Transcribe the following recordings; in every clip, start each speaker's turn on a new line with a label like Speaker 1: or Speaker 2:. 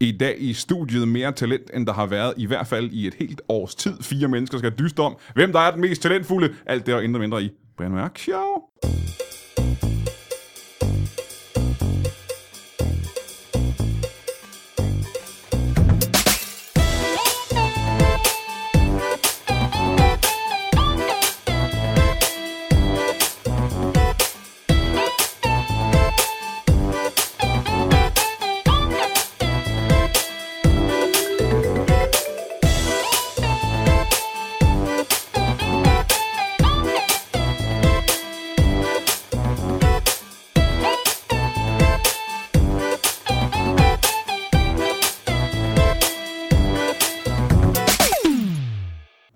Speaker 1: I dag i studiet mere talent, end der har været i hvert fald i et helt års tid. Fire mennesker skal dyste om, hvem der er den mest talentfulde. Alt det og intet mindre i Brian Mørk Show.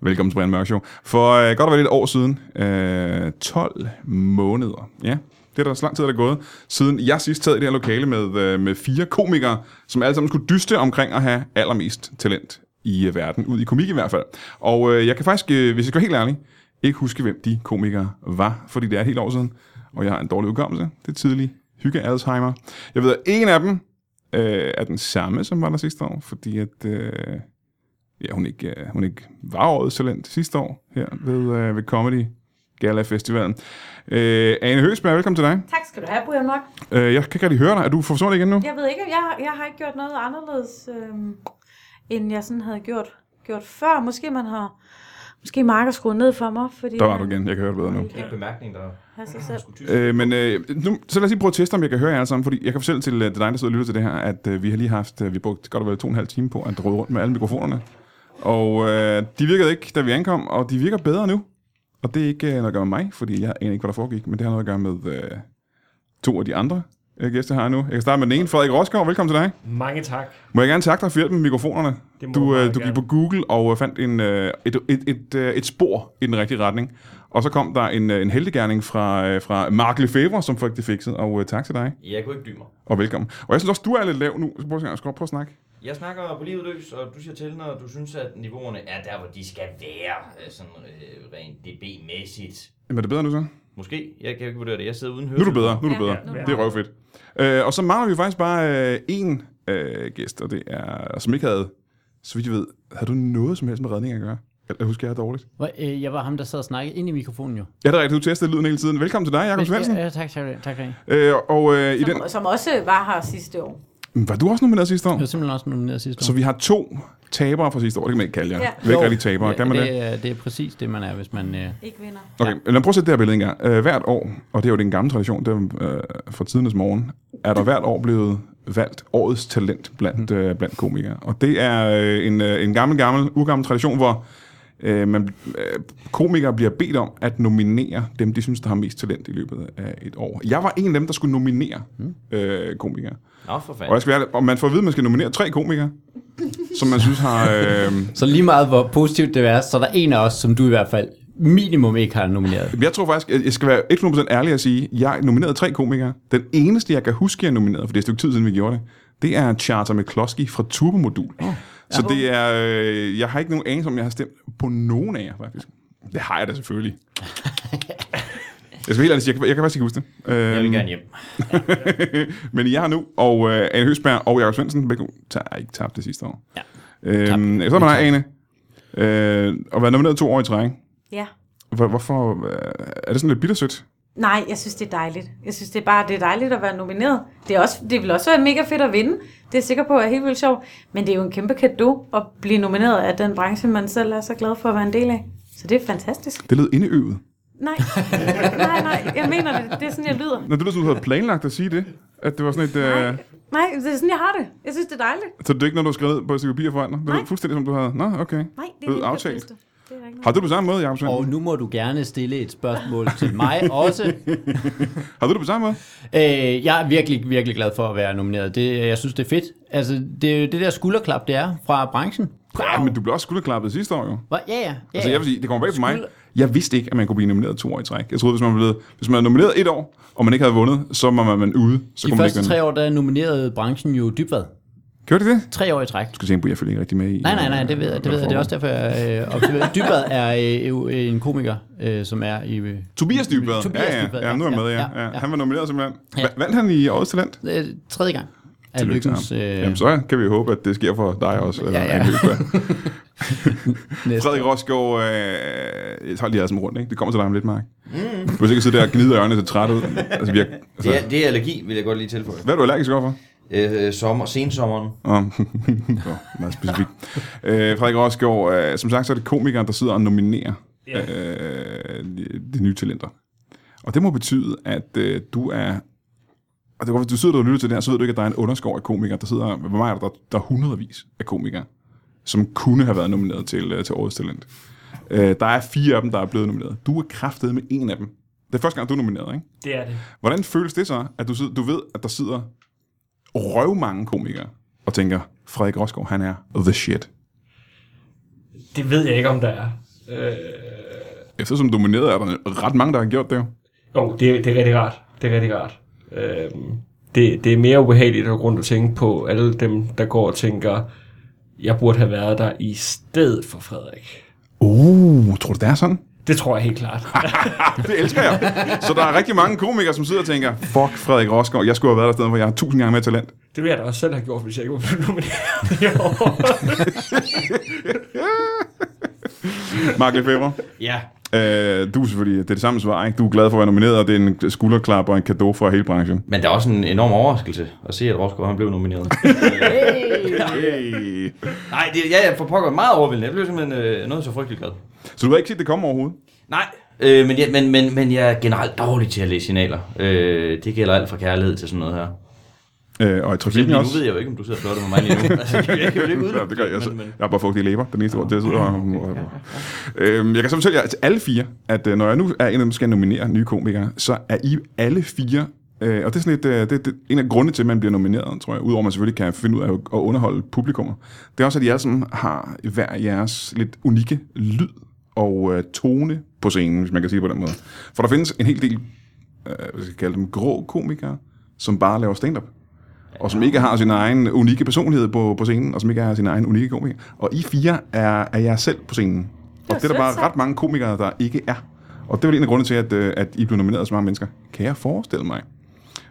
Speaker 1: Velkommen til Brian Mørk Show. For øh, godt og vel et år siden, øh, 12 måneder, ja, det er der så lang tid, der er gået, siden jeg sidst sad i det her lokale med, øh, med fire komikere, som alle sammen skulle dyste omkring at have allermest talent i øh, verden, ud i komik i hvert fald. Og øh, jeg kan faktisk, øh, hvis jeg skal være helt ærlig, ikke huske, hvem de komikere var, fordi det er et helt år siden, og jeg har en dårlig udkommelse. Det er tidlig hygge Alzheimer. Jeg ved, at en af dem øh, er den samme, som var der sidste år, fordi at... Øh, ja, hun ikke, øh, hun ikke var årets talent sidste år her ved, øh, ved Comedy Gala Festivalen. Øh, Ane Høgsberg, velkommen til dig.
Speaker 2: Tak skal du have, Brian Mørk.
Speaker 1: Øh, jeg kan ikke rigtig høre dig. Er du forsvundet igen nu?
Speaker 2: Jeg ved ikke, jeg, jeg har ikke gjort noget anderledes, øhm, end jeg sådan havde gjort, gjort før. Måske man har... Måske Mark har skruet ned for mig, fordi...
Speaker 1: Der var du
Speaker 2: han-
Speaker 1: igen. Jeg kan høre dig bedre nu.
Speaker 3: Kæmpe bemærkning, der
Speaker 2: Han sig selv.
Speaker 3: skulle tyske.
Speaker 1: Øh, men øh, nu, så lad os lige prøve at teste, om jeg kan høre jer alle sammen, fordi jeg kan fortælle til øh, til dig, der sidder og lytter til det her, at øh, vi har lige haft, øh, vi brugte godt og vel to og en halv time på at rode rundt med alle mikrofonerne, og øh, de virkede ikke, da vi ankom, og de virker bedre nu, og det er ikke øh, noget at gøre med mig, fordi jeg aner ikke, hvad der foregik, men det har noget at gøre med øh, to af de andre øh, gæster her nu. Jeg kan starte med den ene, Frederik Roskov, velkommen til dig.
Speaker 4: Mange tak.
Speaker 1: Må jeg gerne takke dig for hjælpen med mikrofonerne.
Speaker 4: Det må du
Speaker 1: Du, øh,
Speaker 4: meget
Speaker 1: du gik på
Speaker 4: gerne.
Speaker 1: Google og øh, fandt en, øh, et, et, et, øh, et spor i den rigtige retning. Og så kom der en, øh, en heltegærning fra, øh, fra Mark Lefebvre, som folk det fikset. Og øh, tak til dig,
Speaker 3: Jeg kunne ikke dybe mig.
Speaker 1: og velkommen. Og jeg synes også, du er lidt lav nu. Så prøv at, prøv at snakke.
Speaker 3: Jeg snakker på livet løs, og du siger til, når du synes, at niveauerne er der, hvor de skal være, øh, sådan øh, rent DB-mæssigt.
Speaker 1: Jamen, er det bedre nu så? Nu
Speaker 3: Måske. Jeg kan ikke vurdere det. Jeg sidder uden
Speaker 1: er du
Speaker 3: hørelse.
Speaker 1: bedre, nu er du
Speaker 2: Ja,
Speaker 1: bedre.
Speaker 2: nu er du
Speaker 1: Det er røvfedt. Øh, og så mangler vi faktisk bare øh, én øh, gæst, og det er, som ikke havde, så vidt jeg ved, havde du noget som helst med redning at gøre? Eller husker jeg dårligt?
Speaker 5: Hvor, øh, Jeg var ham, der sad og snakkede ind i mikrofonen jo.
Speaker 1: Ja, det er rigtigt. Du testede lyden hele tiden. Velkommen til dig, Jakob Svendsen.
Speaker 5: Ja, ja, tak, tak, tak. tak.
Speaker 1: Øh, og øh, i den...
Speaker 2: Som, som også var her sidste år.
Speaker 1: Var du også nomineret sidste år?
Speaker 5: Jeg var simpelthen også nomineret sidste år.
Speaker 1: Så vi har to tabere fra sidste år. Det kan man ikke kalde jer. Ja.
Speaker 2: Ja.
Speaker 1: Vi er ikke rigtig tabere. Ja, kan man det?
Speaker 5: det? er- Det er præcis det, man er, hvis man... Øh,
Speaker 2: Ikke vinder.
Speaker 1: Okay, lad mig prøve at sætte det her billede en gang. Øh, hvert år, og det er jo den gamle tradition, det er øh, fra tidernes morgen, er der hvert år blevet valgt årets talent blandt, øh, blandt komikere. Og det er øh, en, øh, en gammel, gammel, ugammel tradition, hvor øh, man, øh, komikere bliver bedt om at nominere dem, de synes, der har mest talent i løbet af et år. Jeg var en af dem, der skulle nominere øh, komikere.
Speaker 3: Nå, for
Speaker 1: Og, jeg
Speaker 3: fanden.
Speaker 1: skal være, ærlig, og man får at vide, at man skal nominere tre komikere, som man synes har... Øh,
Speaker 5: så lige meget, hvor positivt det er, så er der en af os, som du i hvert fald minimum ikke har nomineret.
Speaker 1: Jeg tror faktisk, jeg- jeg skal være 100% ærlig at sige, jeg nominerede tre komikere. Den eneste, jeg kan huske, jeg nominerede, for det er et stykke tid siden, vi gjorde det, det er Charter McCloskey fra Turbomodul. Oh, så det er, øh, jeg har ikke nogen anelse om, jeg har stemt på nogen af jer, faktisk. Det har jeg da selvfølgelig. jeg skal være helt ærlig, sige, jeg kan, jeg kan faktisk ikke huske det. Øhm,
Speaker 3: Jeg vil gerne hjem.
Speaker 1: men I er her nu, og øh, Anne Høsberg og Jakob Svendsen, begge to, tager ikke tabt det sidste år.
Speaker 5: Ja.
Speaker 1: Øhm, så er man her, Ane, øh, og været nomineret to år i træk.
Speaker 2: Ja.
Speaker 1: Hvor- Hvorfor? øh, Er det sådan lidt bittersødt?
Speaker 2: Nej, jeg synes, det er dejligt. Jeg synes, det er bare det er dejligt at være nomineret. Det, er også, det vil også være mega fedt at vinde. Det er jeg sikker på er helt vildt sjovt. Men det er jo en kæmpe gave at blive nomineret af den branche, man selv er så glad for at være en del af. Så det er fantastisk.
Speaker 1: Det lød indeøvet.
Speaker 2: Nej, nej, nej. Jeg mener det. Det er sådan, jeg lyder.
Speaker 1: Nå, det lyder som, du havde planlagt at sige det. At det var sådan et... Øh,
Speaker 2: Nej, det er sådan, jeg har det. Jeg synes, det er dejligt.
Speaker 1: så det er ikke noget, du har skrevet ned på et stykke papir foran dig? Det
Speaker 2: Nej.
Speaker 1: er fuldstændig som du havde. Nå, okay.
Speaker 2: Nej, det
Speaker 1: Ved
Speaker 2: er min
Speaker 1: aftalt.
Speaker 2: kæpheste. Det er der ikke noget.
Speaker 1: Har du det på samme måde, Jacob
Speaker 5: Og
Speaker 1: Svendsen?
Speaker 5: nu må du gerne stille et spørgsmål til mig også.
Speaker 1: Har du det på samme måde?
Speaker 5: Øh, jeg er virkelig, virkelig glad for at være nomineret. Det, jeg synes, det er fedt. Altså, det, det der skulderklap, det er fra branchen.
Speaker 1: Ja, men du blev også skulderklappet sidste år jo.
Speaker 5: Hvor- Ja, ja. ja,
Speaker 1: Altså,
Speaker 5: ja.
Speaker 1: jeg vil sige, det kommer bag på mig. Jeg vidste ikke, at man kunne blive nomineret to år i træk. Jeg troede, hvis man, blev, hvis man er nomineret et år, og man ikke havde vundet, så var man, man ude. Så
Speaker 5: De
Speaker 1: kunne man ikke
Speaker 5: første
Speaker 1: vinde.
Speaker 5: tre år, der nominerede branchen jo dybvad.
Speaker 1: Gjorde de det? Jeg
Speaker 5: Tre år i træk.
Speaker 1: skal tænke på, at jeg følger ikke rigtig med i...
Speaker 5: Nej, nej, nej, det ved jeg. Det, ved jeg. det er også derfor, jeg øh, observerer. Dybvad er øh, jo en komiker, øh, som er i... Øh,
Speaker 1: Tobias Dybvad.
Speaker 5: Tobias
Speaker 1: ja, ja.
Speaker 5: Dybvad,
Speaker 1: ja, nu er jeg
Speaker 5: ja,
Speaker 1: med, ja.
Speaker 5: ja,
Speaker 1: ja.
Speaker 5: ja.
Speaker 1: Han var nomineret simpelthen. Ja. Vandt han i Årets Talent?
Speaker 5: øh, tredje gang. af
Speaker 1: Tillykke til
Speaker 5: lykkens...
Speaker 1: ham.
Speaker 5: Øh,
Speaker 1: Jamen, så kan vi håbe, at det sker for dig også. Eller
Speaker 5: Ja, ja.
Speaker 1: ja, ja.
Speaker 5: næste.
Speaker 1: Frederik Rosgaard, øh, jeg tager lige som rundt, ikke? Det kommer til dig om lidt, Mark. Mm. Du vil sikkert sidde der og gnide ørerne til træt ud. Altså, vi har, altså,
Speaker 3: Det er, det er allergi, vil jeg godt lige tilføje.
Speaker 1: Hvad er du allergisk overfor?
Speaker 3: Øh, sommer, sensommeren.
Speaker 1: Åh, så meget specifikt. Øh, Frederik Rosgaard, øh, som sagt, så er det komikeren, der sidder og nominerer
Speaker 3: Ja.
Speaker 1: øh, de, de nye talenter. Og det må betyde, at øh, du er... Og det er godt, hvis du sidder der og lytter til det her, så ved du ikke, at der er en underskov af komikere, der sidder... Hvor meget er der? Der er hundredvis af komikere, som kunne have været nomineret til, øh, til Årets Talent. Øh, der er fire af dem, der er blevet nomineret. Du er kraftet med en af dem. Det er første gang, du er nomineret, ikke?
Speaker 4: Det er det.
Speaker 1: Hvordan føles det så, at du, sidder, du ved, at der sidder røvmange komikere og tænker, Frederik Rosgaard, han er the shit.
Speaker 4: Det ved jeg ikke, om der er. Øh,
Speaker 1: Eftersom domineret er der ret mange, der har gjort det jo.
Speaker 4: jo, det, det er rigtig rart. Det er rigtig rart. Øh, det, det er mere ubehageligt at gå rundt og tænke på alle dem, der går og tænker, jeg burde have været der i stedet for Frederik.
Speaker 1: Uh, tror du, det er sådan?
Speaker 4: Det tror jeg helt klart.
Speaker 1: Det elsker jeg. Så der er rigtig mange komikere, som sidder og tænker, fuck Frederik Rosgaard, jeg skulle have været der i stedet for, jeg har tusind gange mere talent.
Speaker 4: Det ville jeg da også selv have gjort, hvis jeg ikke var blevet nomineret i år.
Speaker 1: Mark Lefebvre,
Speaker 3: Ja.
Speaker 1: øh, du er selvfølgelig, det er det samme svar, ikke? Du er glad for at være nomineret, og det er en skulderklap og en gave fra hele branchen.
Speaker 3: Men der er også en enorm overraskelse at se, at Rosgaard han blev nomineret.
Speaker 1: Hey.
Speaker 3: Nej, det ja, jeg for pokker meget overvældende. Jeg blev simpelthen øh, noget så frygteligt glad.
Speaker 1: Så du har ikke set det komme overhovedet?
Speaker 3: Nej, øh, men, jeg, men, men, men jeg er generelt dårlig til at læse signaler. Øh, det gælder alt fra kærlighed til sådan noget her.
Speaker 1: Øh, og i
Speaker 3: Selv
Speaker 1: trafikken
Speaker 3: lige nu
Speaker 1: også?
Speaker 3: ved jeg jo ikke, om du sidder og flotter med mig lige nu. altså, jeg kan jo ikke
Speaker 1: Ja, det gør jeg.
Speaker 3: Men-
Speaker 1: Jeg,
Speaker 3: men-
Speaker 1: jeg har bare fugtige læber, den eneste grund til, at jeg sidder og... Øhm, jeg kan så fortælle jer til alle fire, at øh, når jeg nu er en af dem, skal nominere nye komikere, så er I alle fire... Øh, og det er sådan lidt, øh, det, det, en af grundene til, at man bliver nomineret, tror jeg, udover at man selvfølgelig kan finde ud af at at underholde publikummer, det er også, at I alle sammen har hver jeres lidt unikke lyd og øh, tone på scenen, hvis man kan sige det på den måde. For der findes en hel del, øh, hvad skal jeg kalde dem, grå komikere, som bare laver stand-up og som ikke har sin egen unikke personlighed på, på scenen, og som ikke har sin egen unikke komiker. Og I fire er, er jer selv på scenen. Og det er der
Speaker 2: sødt
Speaker 1: bare
Speaker 2: sagt.
Speaker 1: ret mange komikere, der ikke er. Og det var en af grundene til, at, øh, at I blev nomineret så mange mennesker. Kan jeg forestille mig?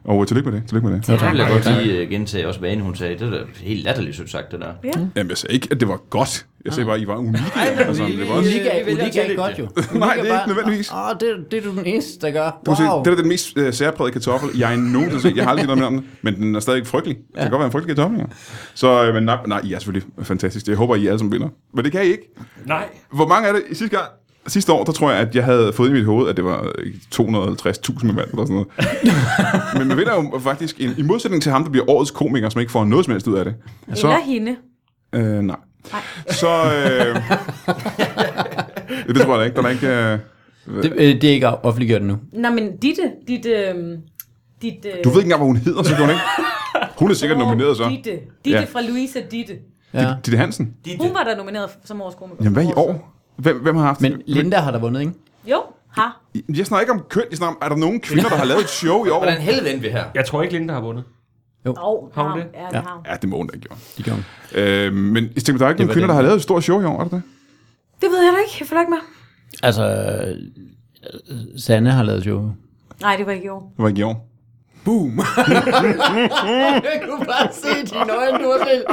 Speaker 1: Og øh, tillykke med det. Tillykke med det.
Speaker 5: Ja,
Speaker 3: Så
Speaker 5: tak.
Speaker 3: vil jeg godt lige øh, gentage også, hvad Ane hun sagde. Det er da helt latterligt sødt sagt, det der.
Speaker 2: Ja.
Speaker 1: Jamen, jeg sagde ikke, at det var godt. Jeg sagde bare, at I var unikke. altså, det var også...
Speaker 5: Unik er,
Speaker 3: vælger
Speaker 5: unik
Speaker 3: til
Speaker 5: er ikke
Speaker 3: det.
Speaker 5: godt jo.
Speaker 1: Nej, det er ikke nødvendigvis.
Speaker 5: Åh, det, det er du den eneste, der gør.
Speaker 1: Du wow.
Speaker 5: Wow.
Speaker 1: det er den mest øh, særprægede kartoffel, jeg nogensinde har set. Jeg har aldrig set noget om den, men den er stadig frygtelig. Ja. Det kan godt være en frygtelig kartoffel, ja. Så, øh, men nej, nej, I er selvfølgelig fantastisk. Jeg håber, I alle sammen vinder. Men det kan I ikke.
Speaker 4: Nej,
Speaker 1: Hvor mange er det i sidste gang? Sidste år, der tror jeg, at jeg havde fået i mit hoved, at det var øh, 250.000 mand eller sådan noget. Men man vinder jo faktisk, en, i modsætning til ham, der bliver årets komiker, som ikke får noget som helst ud af det.
Speaker 2: Eller hende.
Speaker 1: øh, nej. Så, øh, ja, det tror jeg da ikke. Der er da ikke øh,
Speaker 5: Det, øh, det er ikke offentliggjort endnu.
Speaker 2: Nå, men Ditte, dit... Øh, dit øh,
Speaker 1: du ved ikke engang, hvad hun hedder, så gør hun ikke. Hun er sikkert nomineret så.
Speaker 2: Ditte. Ditte
Speaker 1: Ja.
Speaker 2: ja. fra Louise Ditte.
Speaker 5: Ja.
Speaker 1: Ditte Hansen?
Speaker 2: Hun var der nomineret som årets komiker.
Speaker 1: Jamen, hvad i år? Hvem, hvem har haft
Speaker 5: Men Linda har der vundet, ikke?
Speaker 2: Jo, ha.
Speaker 1: Jeg snakker ikke om køn, jeg snakker om, er der nogen kvinder, der har lavet et show i år?
Speaker 3: Hvordan helvede endte vi her?
Speaker 4: jeg tror ikke, Linda har vundet.
Speaker 2: Og
Speaker 4: Har hun
Speaker 2: har hun.
Speaker 4: det?
Speaker 2: Ja, det har hun.
Speaker 1: Ja, det må hun da ikke gjort.
Speaker 5: De gør hun.
Speaker 1: Øh, men jeg tænker, der er ikke nogen
Speaker 5: var
Speaker 1: kvinder,
Speaker 5: den.
Speaker 1: der har lavet et stort show i år, er det det?
Speaker 2: Det ved jeg da ikke. Jeg følger ikke med.
Speaker 5: Altså, øh, Sanne har lavet jo.
Speaker 2: Nej, det var ikke i år.
Speaker 1: Det var ikke i år. Boom!
Speaker 5: Jeg kunne bare se dine øjne, du har set.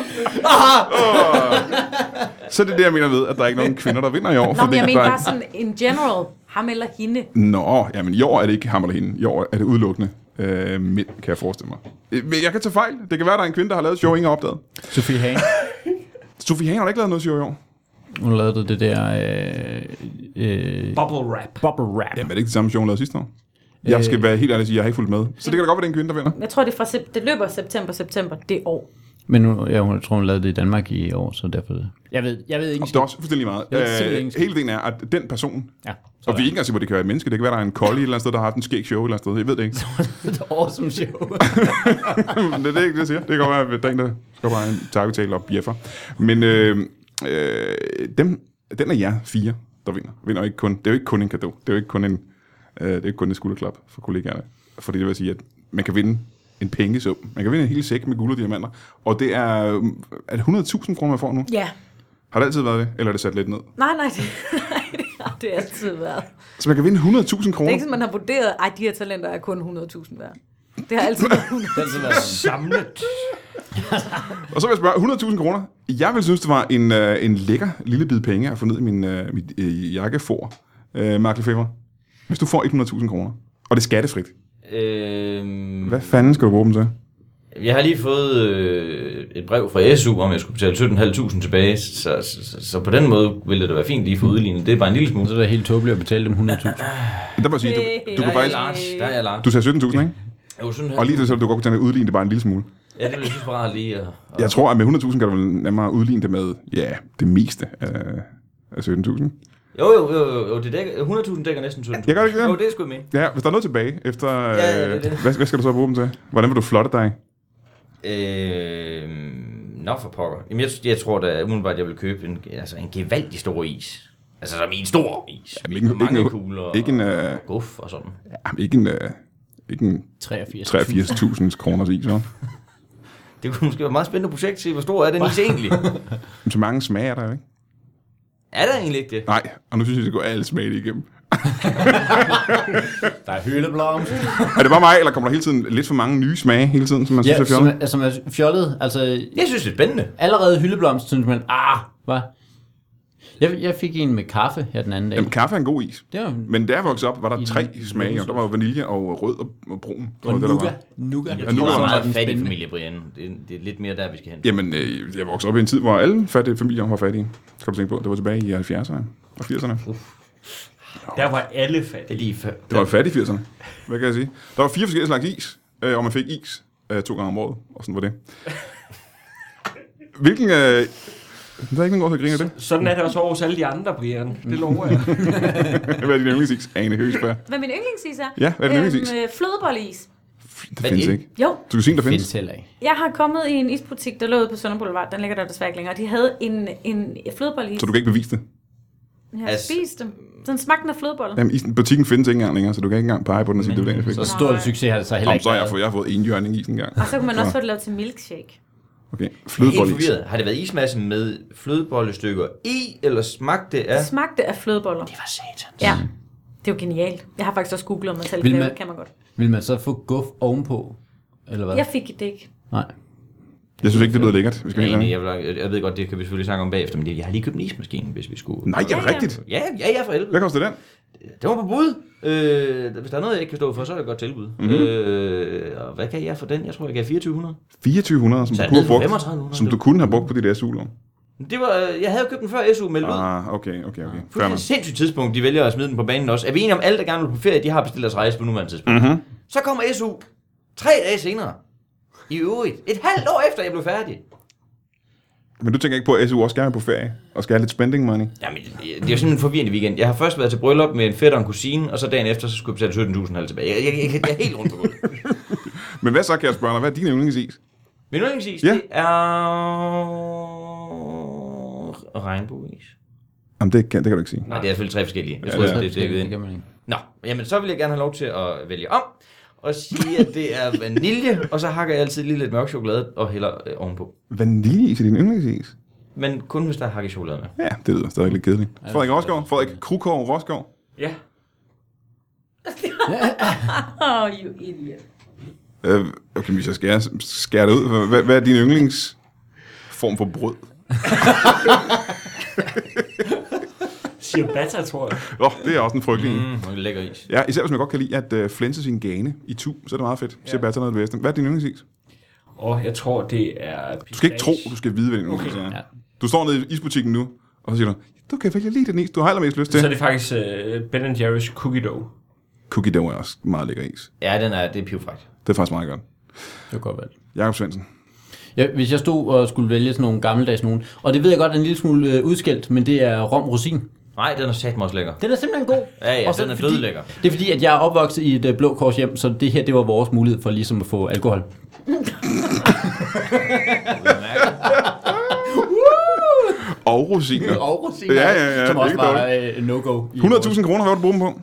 Speaker 1: så det er det, jeg mener ved, at der er ikke nogen kvinder, der vinder i år.
Speaker 2: Nå, men jeg
Speaker 1: der
Speaker 2: mener
Speaker 1: er-
Speaker 2: bare sådan in general. Ham eller hende.
Speaker 1: Nå, jamen i år er det ikke ham eller hende. I år er det udelukkende øh, mænd, kan jeg forestille mig. Øh, Men jeg kan tage fejl. Det kan være, at der er en kvinde, der har lavet et show, ingen har opdaget.
Speaker 5: Sofie Hagen.
Speaker 1: Sofie Hagen har da ikke lavet noget show i år.
Speaker 5: Hun lavede det der øh, øh,
Speaker 4: Bubble wrap.
Speaker 5: bubble wrap.
Speaker 1: Jamen er det ikke det samme show, hun lavede sidste år? Øh. Jeg skal være helt ærlig og sige, at jeg har ikke fulgt med. Så det kan da godt være, det er en kvinde, der vinder.
Speaker 2: Jeg tror, det, er fra sep- det løber september, september det år.
Speaker 5: Men hun, ja, hun, jeg tror, hun lavede det i Danmark i år, så derfor... Jeg ved, jeg ved ikke.
Speaker 1: Det er også fuldstændig lige meget.
Speaker 5: Jeg er
Speaker 1: Øh,
Speaker 5: simpelthen ikke-
Speaker 1: hele delen er, at den person,
Speaker 5: Ja,
Speaker 1: og vi er ikke engang sikre på, at det kan være et menneske. Det kan være, der er en kolde et eller andet sted, der har haft en skæg show et eller andet sted. Jeg ved det ikke.
Speaker 5: et awesome show.
Speaker 1: Men det er ikke det, jeg siger. Det kan godt være, at der er en, der skal bare en takketale og bjeffer. Men øh, øh, dem, den er jer fire, der vinder. vinder ikke kun, det er jo ikke kun en gave. Det er jo ikke kun en, øh, det er jo ikke kun en skulderklap for kollegaerne. Fordi det vil sige, at man kan vinde en pengesum. Man kan vinde en hel sæk med guld og diamanter. Og det er, øh, er det 100.000 kroner, man får nu?
Speaker 2: Ja.
Speaker 1: Har det altid været det? Eller er det sat lidt ned?
Speaker 2: Nej, nej, det, nej, det har det altid været.
Speaker 1: Så man kan vinde 100.000
Speaker 2: Det er
Speaker 1: kroner?
Speaker 2: ikke sådan, man har vurderet, at de her talenter er kun 100.000 værd. Det har altid været 100.
Speaker 5: Den, som er,
Speaker 4: Samlet.
Speaker 1: Og så vil jeg spørge, 100.000 kroner. Jeg vil synes, det var en, øh, en lækker lille bid penge at få ned i min øh, mit, øh, jakkefor, øh, Mark Lefebvre. Hvis du får 100.000 kroner, og det er skattefrit,
Speaker 3: Øhm,
Speaker 1: hvad fanden skal du bruge dem til?
Speaker 3: jeg har lige fået øh, et brev fra SU, om jeg skulle betale 17.500 tilbage, så, så, så, så på den måde ville det da være fint lige at få udlignet. Det er bare en lille smule.
Speaker 5: Så er det helt tåbeligt at betale dem 100.000.
Speaker 1: Der må jeg sige, du, du
Speaker 3: der
Speaker 1: kan
Speaker 3: er jeg
Speaker 1: faktisk...
Speaker 3: Lars. Der er jeg Lars.
Speaker 1: Du sagde 17.000, ikke?
Speaker 3: Jo, sådan her.
Speaker 1: Og lige det, så du godt kunne tage udligne det bare en lille smule.
Speaker 3: Ja, det ville jeg synes bare rart lige at... at
Speaker 1: Jeg tror, at med 100.000 kan du vel nemmere udligne det med, ja, det meste af, af 17.000.
Speaker 3: jo, jo, jo, jo, jo, det dækker, 100.000 dækker næsten 17.000.
Speaker 1: Ja, gør det ikke det?
Speaker 3: Jo, det skulle jeg mene.
Speaker 1: Ja, hvis der er noget tilbage efter...
Speaker 3: ja, det er
Speaker 1: øh,
Speaker 3: det.
Speaker 1: Hvad, hvad skal du så bruge dem til? Hvordan vil du flotte dig?
Speaker 3: Øh, nå for pokker. Jamen, jeg, jeg tror da umiddelbart, jeg vil købe en, altså, en gevaldig stor is. Altså, som i en stor is.
Speaker 1: men
Speaker 3: Ja,
Speaker 1: ikke-
Speaker 3: ikke,
Speaker 1: ikke
Speaker 3: mange
Speaker 1: en-
Speaker 3: kugler og
Speaker 1: Ikke en, øh,
Speaker 3: guf og sådan.
Speaker 1: jamen, ikke en, øh, ikke en
Speaker 5: 83.
Speaker 1: 83.000 kroners is, hva'?
Speaker 3: Det kunne måske være et meget spændende projekt til, hvor stor er den is egentlig?
Speaker 1: Men så mange smage er der jo ikke.
Speaker 3: er der egentlig ikke det?
Speaker 1: Nej, og nu synes jeg, det går alle smage igennem.
Speaker 5: Der er hyldeblomst.
Speaker 1: Er det bare mig, eller kommer der hele tiden lidt for mange nye smage hele tiden, som man synes
Speaker 5: Ja,
Speaker 1: er
Speaker 5: som
Speaker 1: fjollet?
Speaker 5: er, som er fjollet. Altså,
Speaker 3: Jeg synes, det er spændende.
Speaker 5: allerede hyldeblomst, synes man, ah, hvad? Jeg, jeg fik en med kaffe her den anden dag.
Speaker 1: Jamen, kaffe er en god is.
Speaker 5: Det var en
Speaker 1: Men da jeg voksede op, var der tre
Speaker 5: en-
Speaker 1: smage, og der var jo vanilje og rød og, og brun. tror jeg, det, der var.
Speaker 5: nuga. Nuga.
Speaker 3: Jeg
Speaker 1: nu
Speaker 3: tror,
Speaker 1: er
Speaker 3: der er
Speaker 1: det
Speaker 3: meget fattig
Speaker 5: den spændende.
Speaker 3: familie, Brian. Det, er- det er lidt mere der, vi skal hen.
Speaker 1: Jamen, øh, jeg voksede op i en tid, hvor alle fattige familier var fattige. Skal du tænke på, det var tilbage i 70'erne og 80'erne.
Speaker 4: Der var alle fattige.
Speaker 3: Lige før.
Speaker 1: Det var fattige 80'erne, hvad kan jeg sige? Der var fire forskellige slags is, øh, og man fik is øh, to gange om året, og sådan var det. Hvilken... Øh, der er ikke nogen grund til at grine af det.
Speaker 4: Sådan er det også over hos alle de andre, Brian. Det lover jeg.
Speaker 1: Hvad er din yndlingsis? Ane Høgsberg.
Speaker 2: Hvad min yndlingsis er?
Speaker 1: Ja, hvad er din yndlingsis?
Speaker 2: øh, flødebolleis.
Speaker 1: Det findes
Speaker 3: det?
Speaker 1: ikke.
Speaker 2: Jo,
Speaker 1: Du kan sige, der findes.
Speaker 5: findes heller ikke.
Speaker 2: jeg har kommet i en isbutik, der lå ude på Sønder Boulevard. Den ligger der desværre ikke længere. De havde en, en flødebolleis.
Speaker 1: Så du kan ikke bevise det.
Speaker 2: Jeg har
Speaker 3: Altså-
Speaker 2: spist dem. Den smagte af flødebolle.
Speaker 1: Jamen, isen, butikken findes ikke engang længere, så du kan ikke engang pege på den og sige, det var den, jeg fik.
Speaker 5: Så stor en succes har det så heller
Speaker 1: Jamen,
Speaker 5: ikke
Speaker 1: så har jeg
Speaker 5: været.
Speaker 1: fået, jeg har fået en jørning is engang.
Speaker 2: Og så kunne man også få det lavet til milkshake.
Speaker 1: Okay,
Speaker 3: Helt
Speaker 1: flødebollis.
Speaker 3: forvirret. Har det været ismasse med flødebollestykker i, eller smagte det af?
Speaker 2: Det smagte af flødeboller.
Speaker 3: Det var satans.
Speaker 2: Ja. Det er jo genialt. Jeg har faktisk også googlet mig selv.
Speaker 5: Vil
Speaker 2: Vil man...
Speaker 5: man-
Speaker 2: Det kan man godt.
Speaker 5: Vil man så få guf ovenpå? Eller hvad?
Speaker 2: Jeg fik det ikke.
Speaker 5: Nej.
Speaker 1: Jeg synes ikke, det lyder lækkert. Vi skal helt
Speaker 3: Jeg,
Speaker 1: ærligt.
Speaker 3: jeg, vil- jeg ved godt, det kan vi selvfølgelig snakke om bagefter, men jeg har lige købt en ismaskine, hvis vi skulle.
Speaker 1: Nej, er det
Speaker 2: Ja, ja.
Speaker 1: rigtigt?
Speaker 3: Ja, ja, ja, for helvede.
Speaker 1: Hvad koster den?
Speaker 3: Det var på bud. Øh, hvis der er noget, jeg ikke kan stå for, så er det et godt tilbud.
Speaker 1: Mhm.
Speaker 3: Mm-hmm. Øh, og hvad kan jeg for den? Jeg tror, jeg kan 2400.
Speaker 1: 2400, som
Speaker 3: Så
Speaker 1: du
Speaker 3: er
Speaker 1: kunne have
Speaker 3: det
Speaker 1: brugt,
Speaker 3: 3500.
Speaker 1: som du kunne have brugt på dit SU-lån.
Speaker 3: Det var, øh, jeg havde jo købt den før SU meldte ud.
Speaker 1: Ah, okay, okay, okay.
Speaker 3: Det
Speaker 1: Fair
Speaker 3: er
Speaker 1: nok.
Speaker 3: et sindssygt tidspunkt, de vælger at smide den på banen også. Er vi enige om, alle der gerne vil på ferie, de har bestilt deres rejse på nuværende tidspunkt?
Speaker 1: Mhm.
Speaker 3: Mm-hmm. Så kommer SU tre dage senere. I øvrigt. Et halvt år efter, jeg blev færdig.
Speaker 1: Men du tænker ikke på, at SU også gerne vil på ferie, og skal have lidt spending money?
Speaker 3: Jamen, det det er jo simpelthen en forvirrende weekend. Jeg har først været til bryllup med en fætter og en kusine, og så dagen efter, så skulle jeg betale 17.000 halv tilbage. Jeg, jeg, jeg, jeg, er helt rundt på gulvet.
Speaker 1: Men hvad så, kan jeg spørge dig? Hvad er din yndlingsis?
Speaker 3: Min yndlingsis,
Speaker 1: Ja.
Speaker 3: ja. det er regnbueis.
Speaker 1: Jamen, det kan, det kan du ikke sige.
Speaker 3: Nej, det er selvfølgelig tre forskellige. Jeg
Speaker 1: Ja,
Speaker 3: tror,
Speaker 1: det
Speaker 3: ja,
Speaker 1: er
Speaker 3: det, det, det,
Speaker 5: Det
Speaker 3: det,
Speaker 5: kan
Speaker 3: det,
Speaker 5: man ikke.
Speaker 3: Nå, jamen så vil jeg gerne have lov til at vælge om og sige, at det er vanilje, og så hakker jeg altid lige lidt mørk chokolade og hælder øh, ovenpå.
Speaker 1: Vaniljeis er din yndlingsis?
Speaker 3: Men kun hvis der er hakket chokolade med.
Speaker 1: Ja, det lyder stadig lidt kedeligt. Frederik Rosgaard, Frederik Krukov Rosgaard.
Speaker 4: Ja.
Speaker 2: Oh, you idiot.
Speaker 1: Øh, okay, hvis jeg skærer, skærer det ud, hvad, hvad er din yndlings form for brød?
Speaker 4: Ciabatta, tror jeg.
Speaker 1: Åh, oh, det er også en frygtelig mm.
Speaker 3: Mm, og lækker is.
Speaker 1: Ja, især hvis man godt kan lide at øh, flænse sin gane i tu, så er det meget fedt. Ja. Se bare noget af det bedste. Hvad er din yndlingsis?
Speaker 4: Og jeg tror, det er...
Speaker 1: Du skal ikke tro, du skal vide, hvad din yndlingsis okay. er.
Speaker 5: ja.
Speaker 1: Du står nede i isbutikken nu, og så siger du, du kan vælge lige den is, du har allermest lyst til.
Speaker 4: Så er det faktisk uh, Ben Jerry's Cookie Dough.
Speaker 1: Cookie dough er også meget lækker is.
Speaker 3: Ja, den er, det er pivfrækt.
Speaker 1: Det er faktisk meget godt.
Speaker 5: Det var godt valgt.
Speaker 1: Jakob Svendsen.
Speaker 5: Ja, hvis jeg stod og skulle vælge sådan nogle gammeldags nogen, og det ved jeg godt er en lille smule øh, udskældt, men det er rom rosin.
Speaker 3: Nej, den er satme også lækker.
Speaker 5: Den er simpelthen god.
Speaker 3: Ja, ja,
Speaker 5: Og så
Speaker 3: den er
Speaker 5: fordi-
Speaker 3: dødlækker.
Speaker 5: Det er fordi, at jeg er opvokset i et øh, blå kors hjem, så det her, det var vores mulighed for ligesom at få alkohol.
Speaker 1: Og rosiner.
Speaker 5: Og rosiner,
Speaker 1: Ja, ja, ja,
Speaker 5: som
Speaker 1: det er
Speaker 5: også
Speaker 1: ikke
Speaker 5: var øh, no-go. i
Speaker 1: 100.000 kroner, hvad vil du bruge dem på?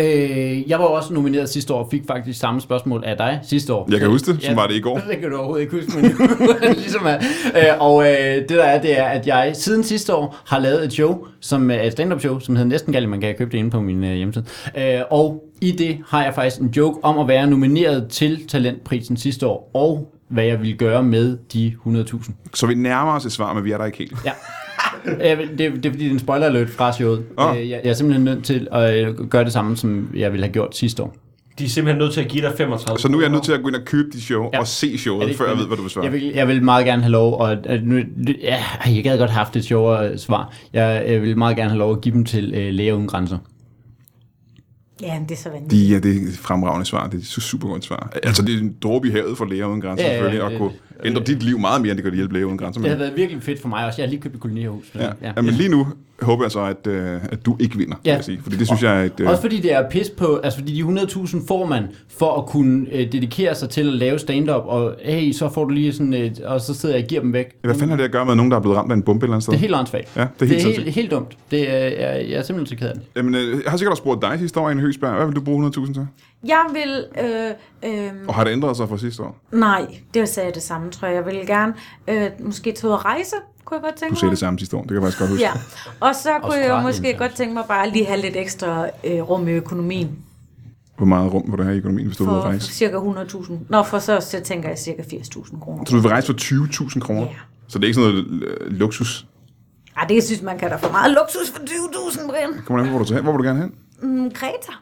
Speaker 5: Øh, jeg var jo også nomineret sidste år og fik faktisk samme spørgsmål af dig sidste år.
Speaker 1: Jeg kan huske det, som var det i går.
Speaker 5: Det kan du overhovedet ikke huske, men nu er det ligesom er. Øh, og øh, det der er, det er, at jeg siden sidste år har lavet et show, som er et stand-up show, som hedder Næsten Gallig. Man kan købe det inde på min øh, hjemmeside. Øh, og i det har jeg faktisk en joke om at være nomineret til talentprisen sidste år, og hvad jeg ville gøre med de 100.000.
Speaker 1: Så vi nærmer os et svar, men vi er der ikke helt.
Speaker 5: Ja. Jeg vil- Det, det er fordi, det er en spoiler alert fra showet.
Speaker 1: Åh.
Speaker 5: Øh, Jeg, jeg er simpelthen nødt til at øh, gøre det samme, som jeg ville have gjort sidste år.
Speaker 4: De er simpelthen nødt til at give dig 35
Speaker 1: Så nu er jeg nødt til at gå ind og købe dit show ja.
Speaker 5: Ja.
Speaker 1: og se
Speaker 5: Er det
Speaker 1: showet,
Speaker 5: ikke
Speaker 1: før jeg
Speaker 5: fint?
Speaker 1: ved, hvad du vil svare.
Speaker 5: Jeg vil, jeg vil meget gerne have lov, og at nu, ja, ej, jeg gad godt have haft et sjovere øh, svar. Jeg, jeg vil meget gerne have lov at give dem til øh, Læger Uden Grænser.
Speaker 2: Ja, men det er så vanvittigt.
Speaker 1: De, ja, det er et fremragende svar. Det er et su- super godt svar. Altså, det er en dråbe i havet for læger uden grænser,
Speaker 5: Ja,
Speaker 1: ja,
Speaker 5: ja,
Speaker 1: selvfølgelig,
Speaker 5: ja,
Speaker 1: og
Speaker 5: det-
Speaker 1: kunne ændre dit liv meget mere, end det kan hjælpe læger uden grænser.
Speaker 5: Det
Speaker 1: Men,
Speaker 5: har været virkelig fedt for mig også. Jeg har lige købt et kolonierhus.
Speaker 1: ja. Ja. men lige nu håber jeg så, at, øh, at du ikke vinder, ja. kan
Speaker 5: Ja.
Speaker 1: jeg sige. Fordi det synes jeg er et... Øh,
Speaker 5: Også fordi det er pis på, altså fordi de 100.000 får man for at kunne øh, dedikere sig til at lave stand-up, og hey, så får du lige sådan et, og så sidder jeg og giver dem væk.
Speaker 1: hvad fanden har det at gøre med nogen, der er blevet ramt af en bombe et eller andet sted?
Speaker 5: Det er helt åndssvagt.
Speaker 1: Ja, det er helt
Speaker 5: det er
Speaker 1: sindssygt.
Speaker 5: helt, helt dumt. Det er, jeg, jeg er simpelthen så ked af det.
Speaker 1: Jamen, øh, jeg har sikkert også spurgt dig sidste år, Anne Høgsberg. Hvad vil du bruge 100.000 til?
Speaker 2: Jeg vil... Øh, øh,
Speaker 1: Og har det ændret sig fra sidste år?
Speaker 2: nej, det sagde jeg det samme, tror jeg. Jeg ville gerne øh, måske tage ud at rejse, kunne jeg godt tænke
Speaker 1: Du sagde
Speaker 2: mig.
Speaker 1: det samme sidste år. Det kan jeg faktisk godt huske.
Speaker 2: Ja, og så kunne jeg
Speaker 5: Australien,
Speaker 2: jo måske
Speaker 5: faktisk.
Speaker 2: godt tænke mig bare lige have lidt ekstra øh, rum i økonomien
Speaker 1: Hvor meget rum må du have i økonomien, hvis du vil
Speaker 2: for
Speaker 1: rejse?
Speaker 2: cirka 100.000. Nå, for så, så tænker jeg cirka 80.000 kroner.
Speaker 1: Så du vil rejse for 20.000 kroner?
Speaker 2: Ja.
Speaker 1: Så det er ikke sådan noget øh, luksus?
Speaker 2: Ej, det synes man kan da få meget luksus for 20.000, Brian.
Speaker 1: Kommer an på, hvor du tager hen? Hvor vil du gerne hen?
Speaker 2: Mm, Kreta.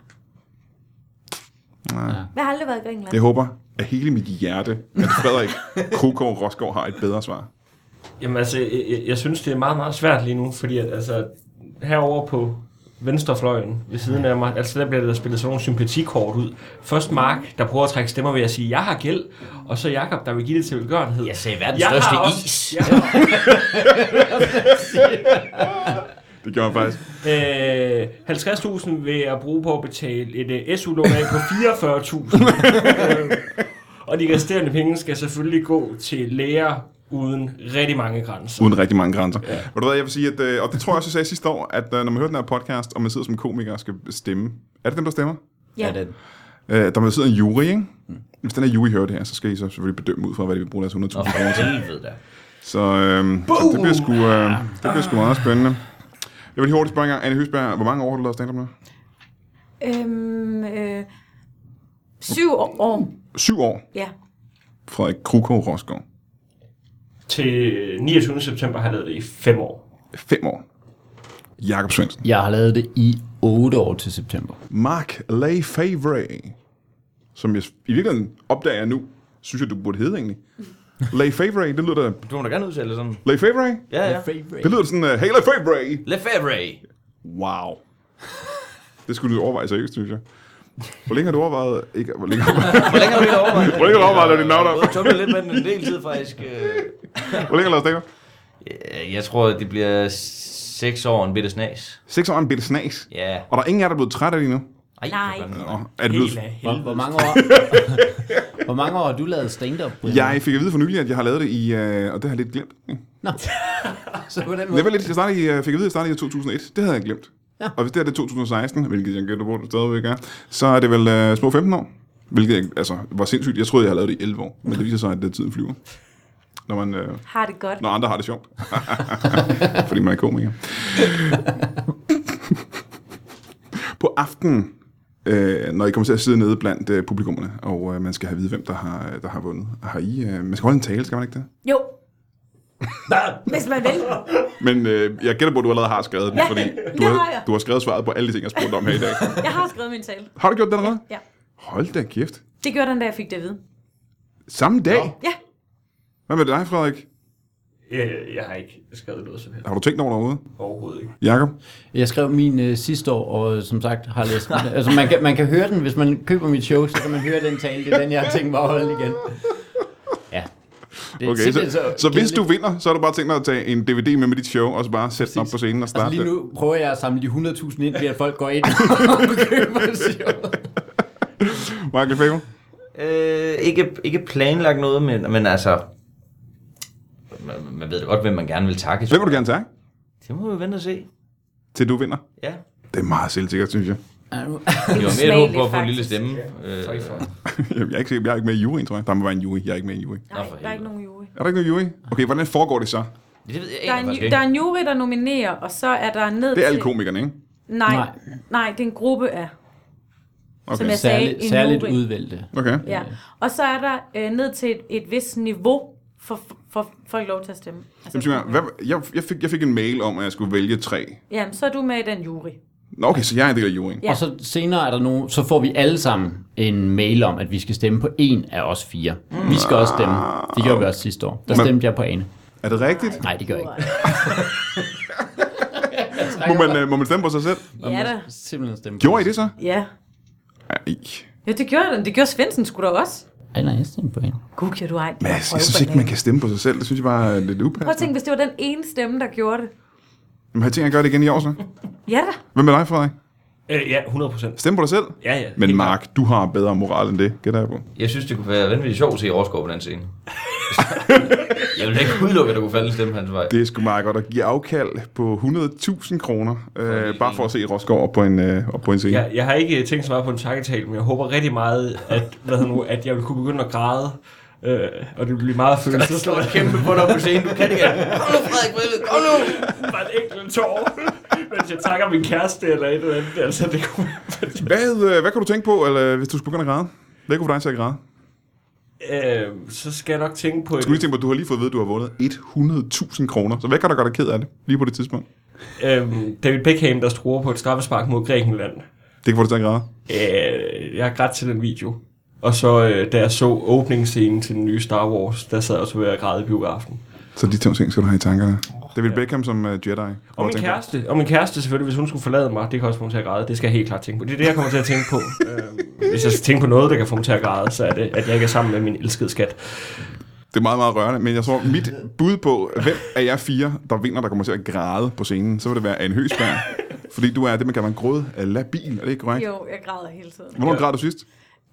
Speaker 1: Nej.
Speaker 2: Jeg har aldrig været i Grækenland.
Speaker 1: Jeg håber af hele mit hjerte, at Frederik Krogård Rosgaard har et bedre svar.
Speaker 4: Jamen altså, jeg, jeg- jeg synes, det er meget, meget svært lige nu, fordi at, altså, herover på venstrefløjen ved siden af mig, altså der bliver der spillet sådan nogle sympatikort ud. Først Mark, der prøver at trække stemmer ved at sige, jeg har gæld, og så Jakob, der vil give det til velgørenhed.
Speaker 3: Jeg sagde verdens
Speaker 4: Jeg har
Speaker 3: største
Speaker 4: også-
Speaker 3: is.
Speaker 4: Jeg har,
Speaker 1: Det gjorde han faktisk.
Speaker 4: øh, 50.000 vil jeg bruge på at betale et øh, SU-lån af på 44.000. Øh, og de resterende penge skal selvfølgelig gå til læger uden rigtig mange grænser.
Speaker 1: Uden rigtig mange grænser. Ja. Ved du hvad, jeg vil sige, at, øh, og det tror jeg også, jeg sagde sidste år, at øh, når man hører den her podcast, og man sidder som komiker og skal stemme. Er det dem, der stemmer?
Speaker 2: Ja.
Speaker 5: det,
Speaker 1: Øh, der man sidder en jury, ikke? Hvis den her jury hører det her, så skal I så selvfølgelig bedømme ud fra, hvad de vil bruge deres 100.000
Speaker 3: Nå, for
Speaker 1: kroner til.
Speaker 3: helvede da.
Speaker 1: Så, øh, så det, bliver sgu, øh, det bliver sgu meget spændende. Jeg vil lige hurtigt spørge en gang, Anne Høsberg, hvor mange år har du lavet stand-up nu?
Speaker 2: Øhm, øh, syv år. år.
Speaker 1: Syv år,
Speaker 2: Ja.
Speaker 1: Frederik Krogård Rosgaard.
Speaker 4: Til 29. september har jeg lavet det i fem år.
Speaker 1: Fem år. Jakob Svendsen.
Speaker 5: Jeg har lavet det i 8 år til september.
Speaker 1: Mark Lefebvre, som jeg i virkeligheden opdager nu, synes jeg, du burde hedde egentlig. Lefebvre, det lyder da...
Speaker 3: Du må da gerne udtale det sådan.
Speaker 1: Lefebvre?
Speaker 3: Ja, ja.
Speaker 1: Det lyder da sådan, uh, hey Lefebvre!
Speaker 3: Lefebvre.
Speaker 1: Wow. Det skulle du overveje seriøst, synes jeg. Hvor længe har du overvejet... Ikke, hvor længe, hvor
Speaker 3: Hvor længe har du ikke overvejet?
Speaker 1: Hvor længe har du overvejet at lave dit navn om?
Speaker 3: Jeg har tumlet lidt med den en del tid, faktisk. Øh,
Speaker 1: længe har du lavet stand-up?
Speaker 3: ja, Øh, Jeg tror, det bliver 6 år en bitte snas.
Speaker 1: Seks år er en bitte snas.
Speaker 3: Ja.
Speaker 1: Og der er ingen af jer, der er blevet træt af det endnu.
Speaker 3: Ej,
Speaker 2: Nej.
Speaker 3: for fanden.
Speaker 1: Nå, er det blevet...
Speaker 4: Helt af
Speaker 5: Hvor, hvor, mange år, hvor mange år har du lavet stand-up? Brian?
Speaker 1: Jeg fik at vide for nylig, at jeg har lavet det i... Øh, og det har jeg lidt glemt. ikke?
Speaker 5: Nå. Så på den
Speaker 1: Det
Speaker 5: måde.
Speaker 1: var lidt, jeg, startede i, øh, fik at vide, at jeg startede i 2001. Det havde jeg glemt. Ja. Og hvis det her det er 2016, hvilket jeg gætter på, det stadigvæk er, så er det vel øh, små 15 år. Hvilket jeg, altså, var sindssygt. Jeg troede, jeg havde lavet det i 11 år. Men det viser sig, at det tiden flyver. Når, man, øh,
Speaker 2: Har det godt.
Speaker 1: når andre har det sjovt. Fordi man er komiker. på aftenen, øh, når I kommer til at sidde nede blandt øh, publikummerne, og øh, man skal have at vide, hvem der har, der har vundet. Har I, øh, man skal holde en tale, skal man ikke det?
Speaker 2: Jo. Hvis man vil.
Speaker 1: Men øh, jeg gætter på, at du allerede har skrevet den,
Speaker 2: Ja,
Speaker 1: fordi du
Speaker 2: det
Speaker 1: har,
Speaker 2: har jeg.
Speaker 1: du har skrevet svaret på alle de ting, jeg spurgte om her i dag.
Speaker 2: Jeg har skrevet min tale.
Speaker 1: Har du gjort det allerede?
Speaker 2: Ja.
Speaker 1: Hold da kæft.
Speaker 2: Det gjorde den, da jeg fik det at vide.
Speaker 1: Samme dag?
Speaker 2: Ja.
Speaker 1: Hvad med dig, Frederik?
Speaker 4: Øh, Jeg har ikke skrevet noget som helst.
Speaker 1: Har du tænkt over det overhovedet?
Speaker 4: Overhovedet ikke.
Speaker 1: Jakob?
Speaker 5: Jeg skrev min øh, sidste år, og øh, som sagt har læst den. Altså, man kan, man kan høre den, hvis man køber mit show, så kan man høre den tale. Det er den, jeg har tænkt mig at holde igen. Ja. Det er
Speaker 1: Okay, så,
Speaker 5: simpelthen
Speaker 1: så, så hvis du vinder, så har du bare tænkt dig at tage en DVD med med dit show, og så bare sætte den op på scenen og
Speaker 5: Altså,
Speaker 1: starte
Speaker 5: lige
Speaker 1: det.
Speaker 5: nu prøver jeg at samle de 100.000 ind, ved at folk går ind og køber showet.
Speaker 1: Michael Faber?
Speaker 3: Øh, ikke, ikke planlagt noget, men, men altså... Man, man ved da godt, hvem man gerne vil takke.
Speaker 1: Hvem vil du gerne tage?
Speaker 3: Det må vi vente og se.
Speaker 1: Til du vinder.
Speaker 3: Ja.
Speaker 1: Det er meget selvsikkert, synes jeg.
Speaker 3: Det var mere et håb
Speaker 2: usmageligt,
Speaker 3: på at få en lille
Speaker 2: faktisk.
Speaker 3: stemme. øh,
Speaker 4: Tak for det.
Speaker 1: Jeg er ikke sikker, jeg er ikke med i juryen, tror jeg. Der må være en jury. Jeg er ikke med i en jury.
Speaker 2: Nej, der
Speaker 3: for
Speaker 2: er
Speaker 3: helvede.
Speaker 2: ikke nogen jury.
Speaker 1: Er der ikke nogen jury? Okay, hvordan foregår det så?
Speaker 3: det ved jeg
Speaker 2: Der er,
Speaker 3: egentlig faktisk
Speaker 2: en, der
Speaker 3: ikke.
Speaker 2: er en jury, der nominerer, og så er der ned
Speaker 1: Det er alle
Speaker 2: til...
Speaker 1: komikerne, ikke?
Speaker 2: Nej,
Speaker 5: Nej.
Speaker 2: nej, det er en gruppe af. okay. som jeg sagde.
Speaker 5: Særligt,
Speaker 2: en
Speaker 5: særligt
Speaker 2: Norway.
Speaker 5: udvalgte.
Speaker 1: Okay.
Speaker 2: Ja. Og så er der øh, ned til et, et vist niveau for, for, for folk lov til at stemme. Altså,
Speaker 1: Jamen, Simon, hvad, jeg, jeg, fik, jeg fik en mail om, at jeg skulle vælge tre.
Speaker 2: Jamen, så er du med i den jury.
Speaker 1: Nå, okay, så jeg er en del af juryen.
Speaker 2: Ja.
Speaker 5: Og så senere er der nogen, så får vi alle sammen en mail om, at vi skal stemme på en af os fire. Vi skal også stemme. Det gjorde vi også sidste år. Der
Speaker 1: Men-
Speaker 5: stemte jeg på Ane.
Speaker 1: Er det rigtigt?
Speaker 5: Nej, det gør jeg ikke.
Speaker 1: Må man, øh, må man stemme på sig selv?
Speaker 2: Ja da.
Speaker 5: Simpelthen stemme på
Speaker 1: Gjorde I det så?
Speaker 2: Ja.
Speaker 1: Ej,
Speaker 2: Ja, det gjorde den. Det gjorde Svendsen sgu da også.
Speaker 5: Ej, nej, jeg stemte på Ane.
Speaker 2: Gud, kan du ej.
Speaker 1: Mads, jeg synes ikke, man kan stemme på sig selv. Det synes jeg bare er lidt
Speaker 2: Prøv at
Speaker 1: upassende.
Speaker 2: tænke, hvis det var den ene stemme, der gjorde det.
Speaker 1: Men har jeg tænkt at gøre det igen i år så?
Speaker 2: Ja da.
Speaker 1: Hvad med dig, Frederik?
Speaker 4: Øh, ja, 100 procent.
Speaker 1: Stemme på dig selv?
Speaker 4: Ja, ja.
Speaker 1: Men
Speaker 4: Helt
Speaker 1: Mark, du har bedre moral end det, gætter jeg på.
Speaker 3: Jeg synes, det kunne være vanvittigt sjovt at se Rosgaard på den scene. jeg vil ikke udelukke, at der kunne falde en stemme hans vej.
Speaker 1: Det er sgu meget godt at give afkald på 100.000 kroner, øh,
Speaker 3: lige
Speaker 1: bare for at se Rosgaard op på en, øh, op på en scene.
Speaker 4: Jeg, jeg har ikke tænkt så meget på en takketale, men jeg håber rigtig meget, at, hvad hedder nu, at jeg vil kunne begynde at græde. Øh, og det bliver meget følelsesladet.
Speaker 3: slår et kæmpe på dig på scenen. Du kan det ikke. Kom nu, Frederik Brille. Kom nu.
Speaker 4: bare en enkelt tår, mens jeg takker min kæreste eller et eller andet. Altså, det kunne
Speaker 1: Hvad, øh, hvad kan du tænke på, eller, hvis du skulle begynde at græde? Hvad kunne få dig til at græde?
Speaker 4: øh, så skal jeg nok tænke på...
Speaker 1: Du skal lige tænke på, at du har lige fået at vide, at du har vundet 100.000 kroner. Så hvad kan der gøre dig ked af det, lige på det tidspunkt?
Speaker 4: Øh, David Beckham, der struer på et straffespark mod Grækenland.
Speaker 1: Det kan få dig til at græde.
Speaker 4: Øh, jeg har grædt til den video. Og så, øh, da jeg så åbningsscenen til den nye Star Wars, der sad jeg også ved at græde i biografen.
Speaker 1: Så de to ting skal du have i tankerne. David Beckham som uh, Jedi.
Speaker 4: Og min, kæreste, og min kæreste selvfølgelig, hvis hun skulle forlade mig, det kan også få mig til at græde. Det skal jeg helt klart tænke på. Det er det, jeg kommer til at tænke på. øh, hvis jeg skal tænke på noget, der kan få mig til at græde, så er det, at jeg ikke er sammen med min elskede skat.
Speaker 1: Det er meget, meget rørende, men jeg tror, mit bud på, hvem af jer fire, der vinder, der kommer til at græde på scenen, så vil det være Anne Høsberg. fordi du er det, man kalder en gråd labil, er det ikke korrekt?
Speaker 2: Jo, jeg græder hele tiden.
Speaker 1: Hvornår græd du sidst?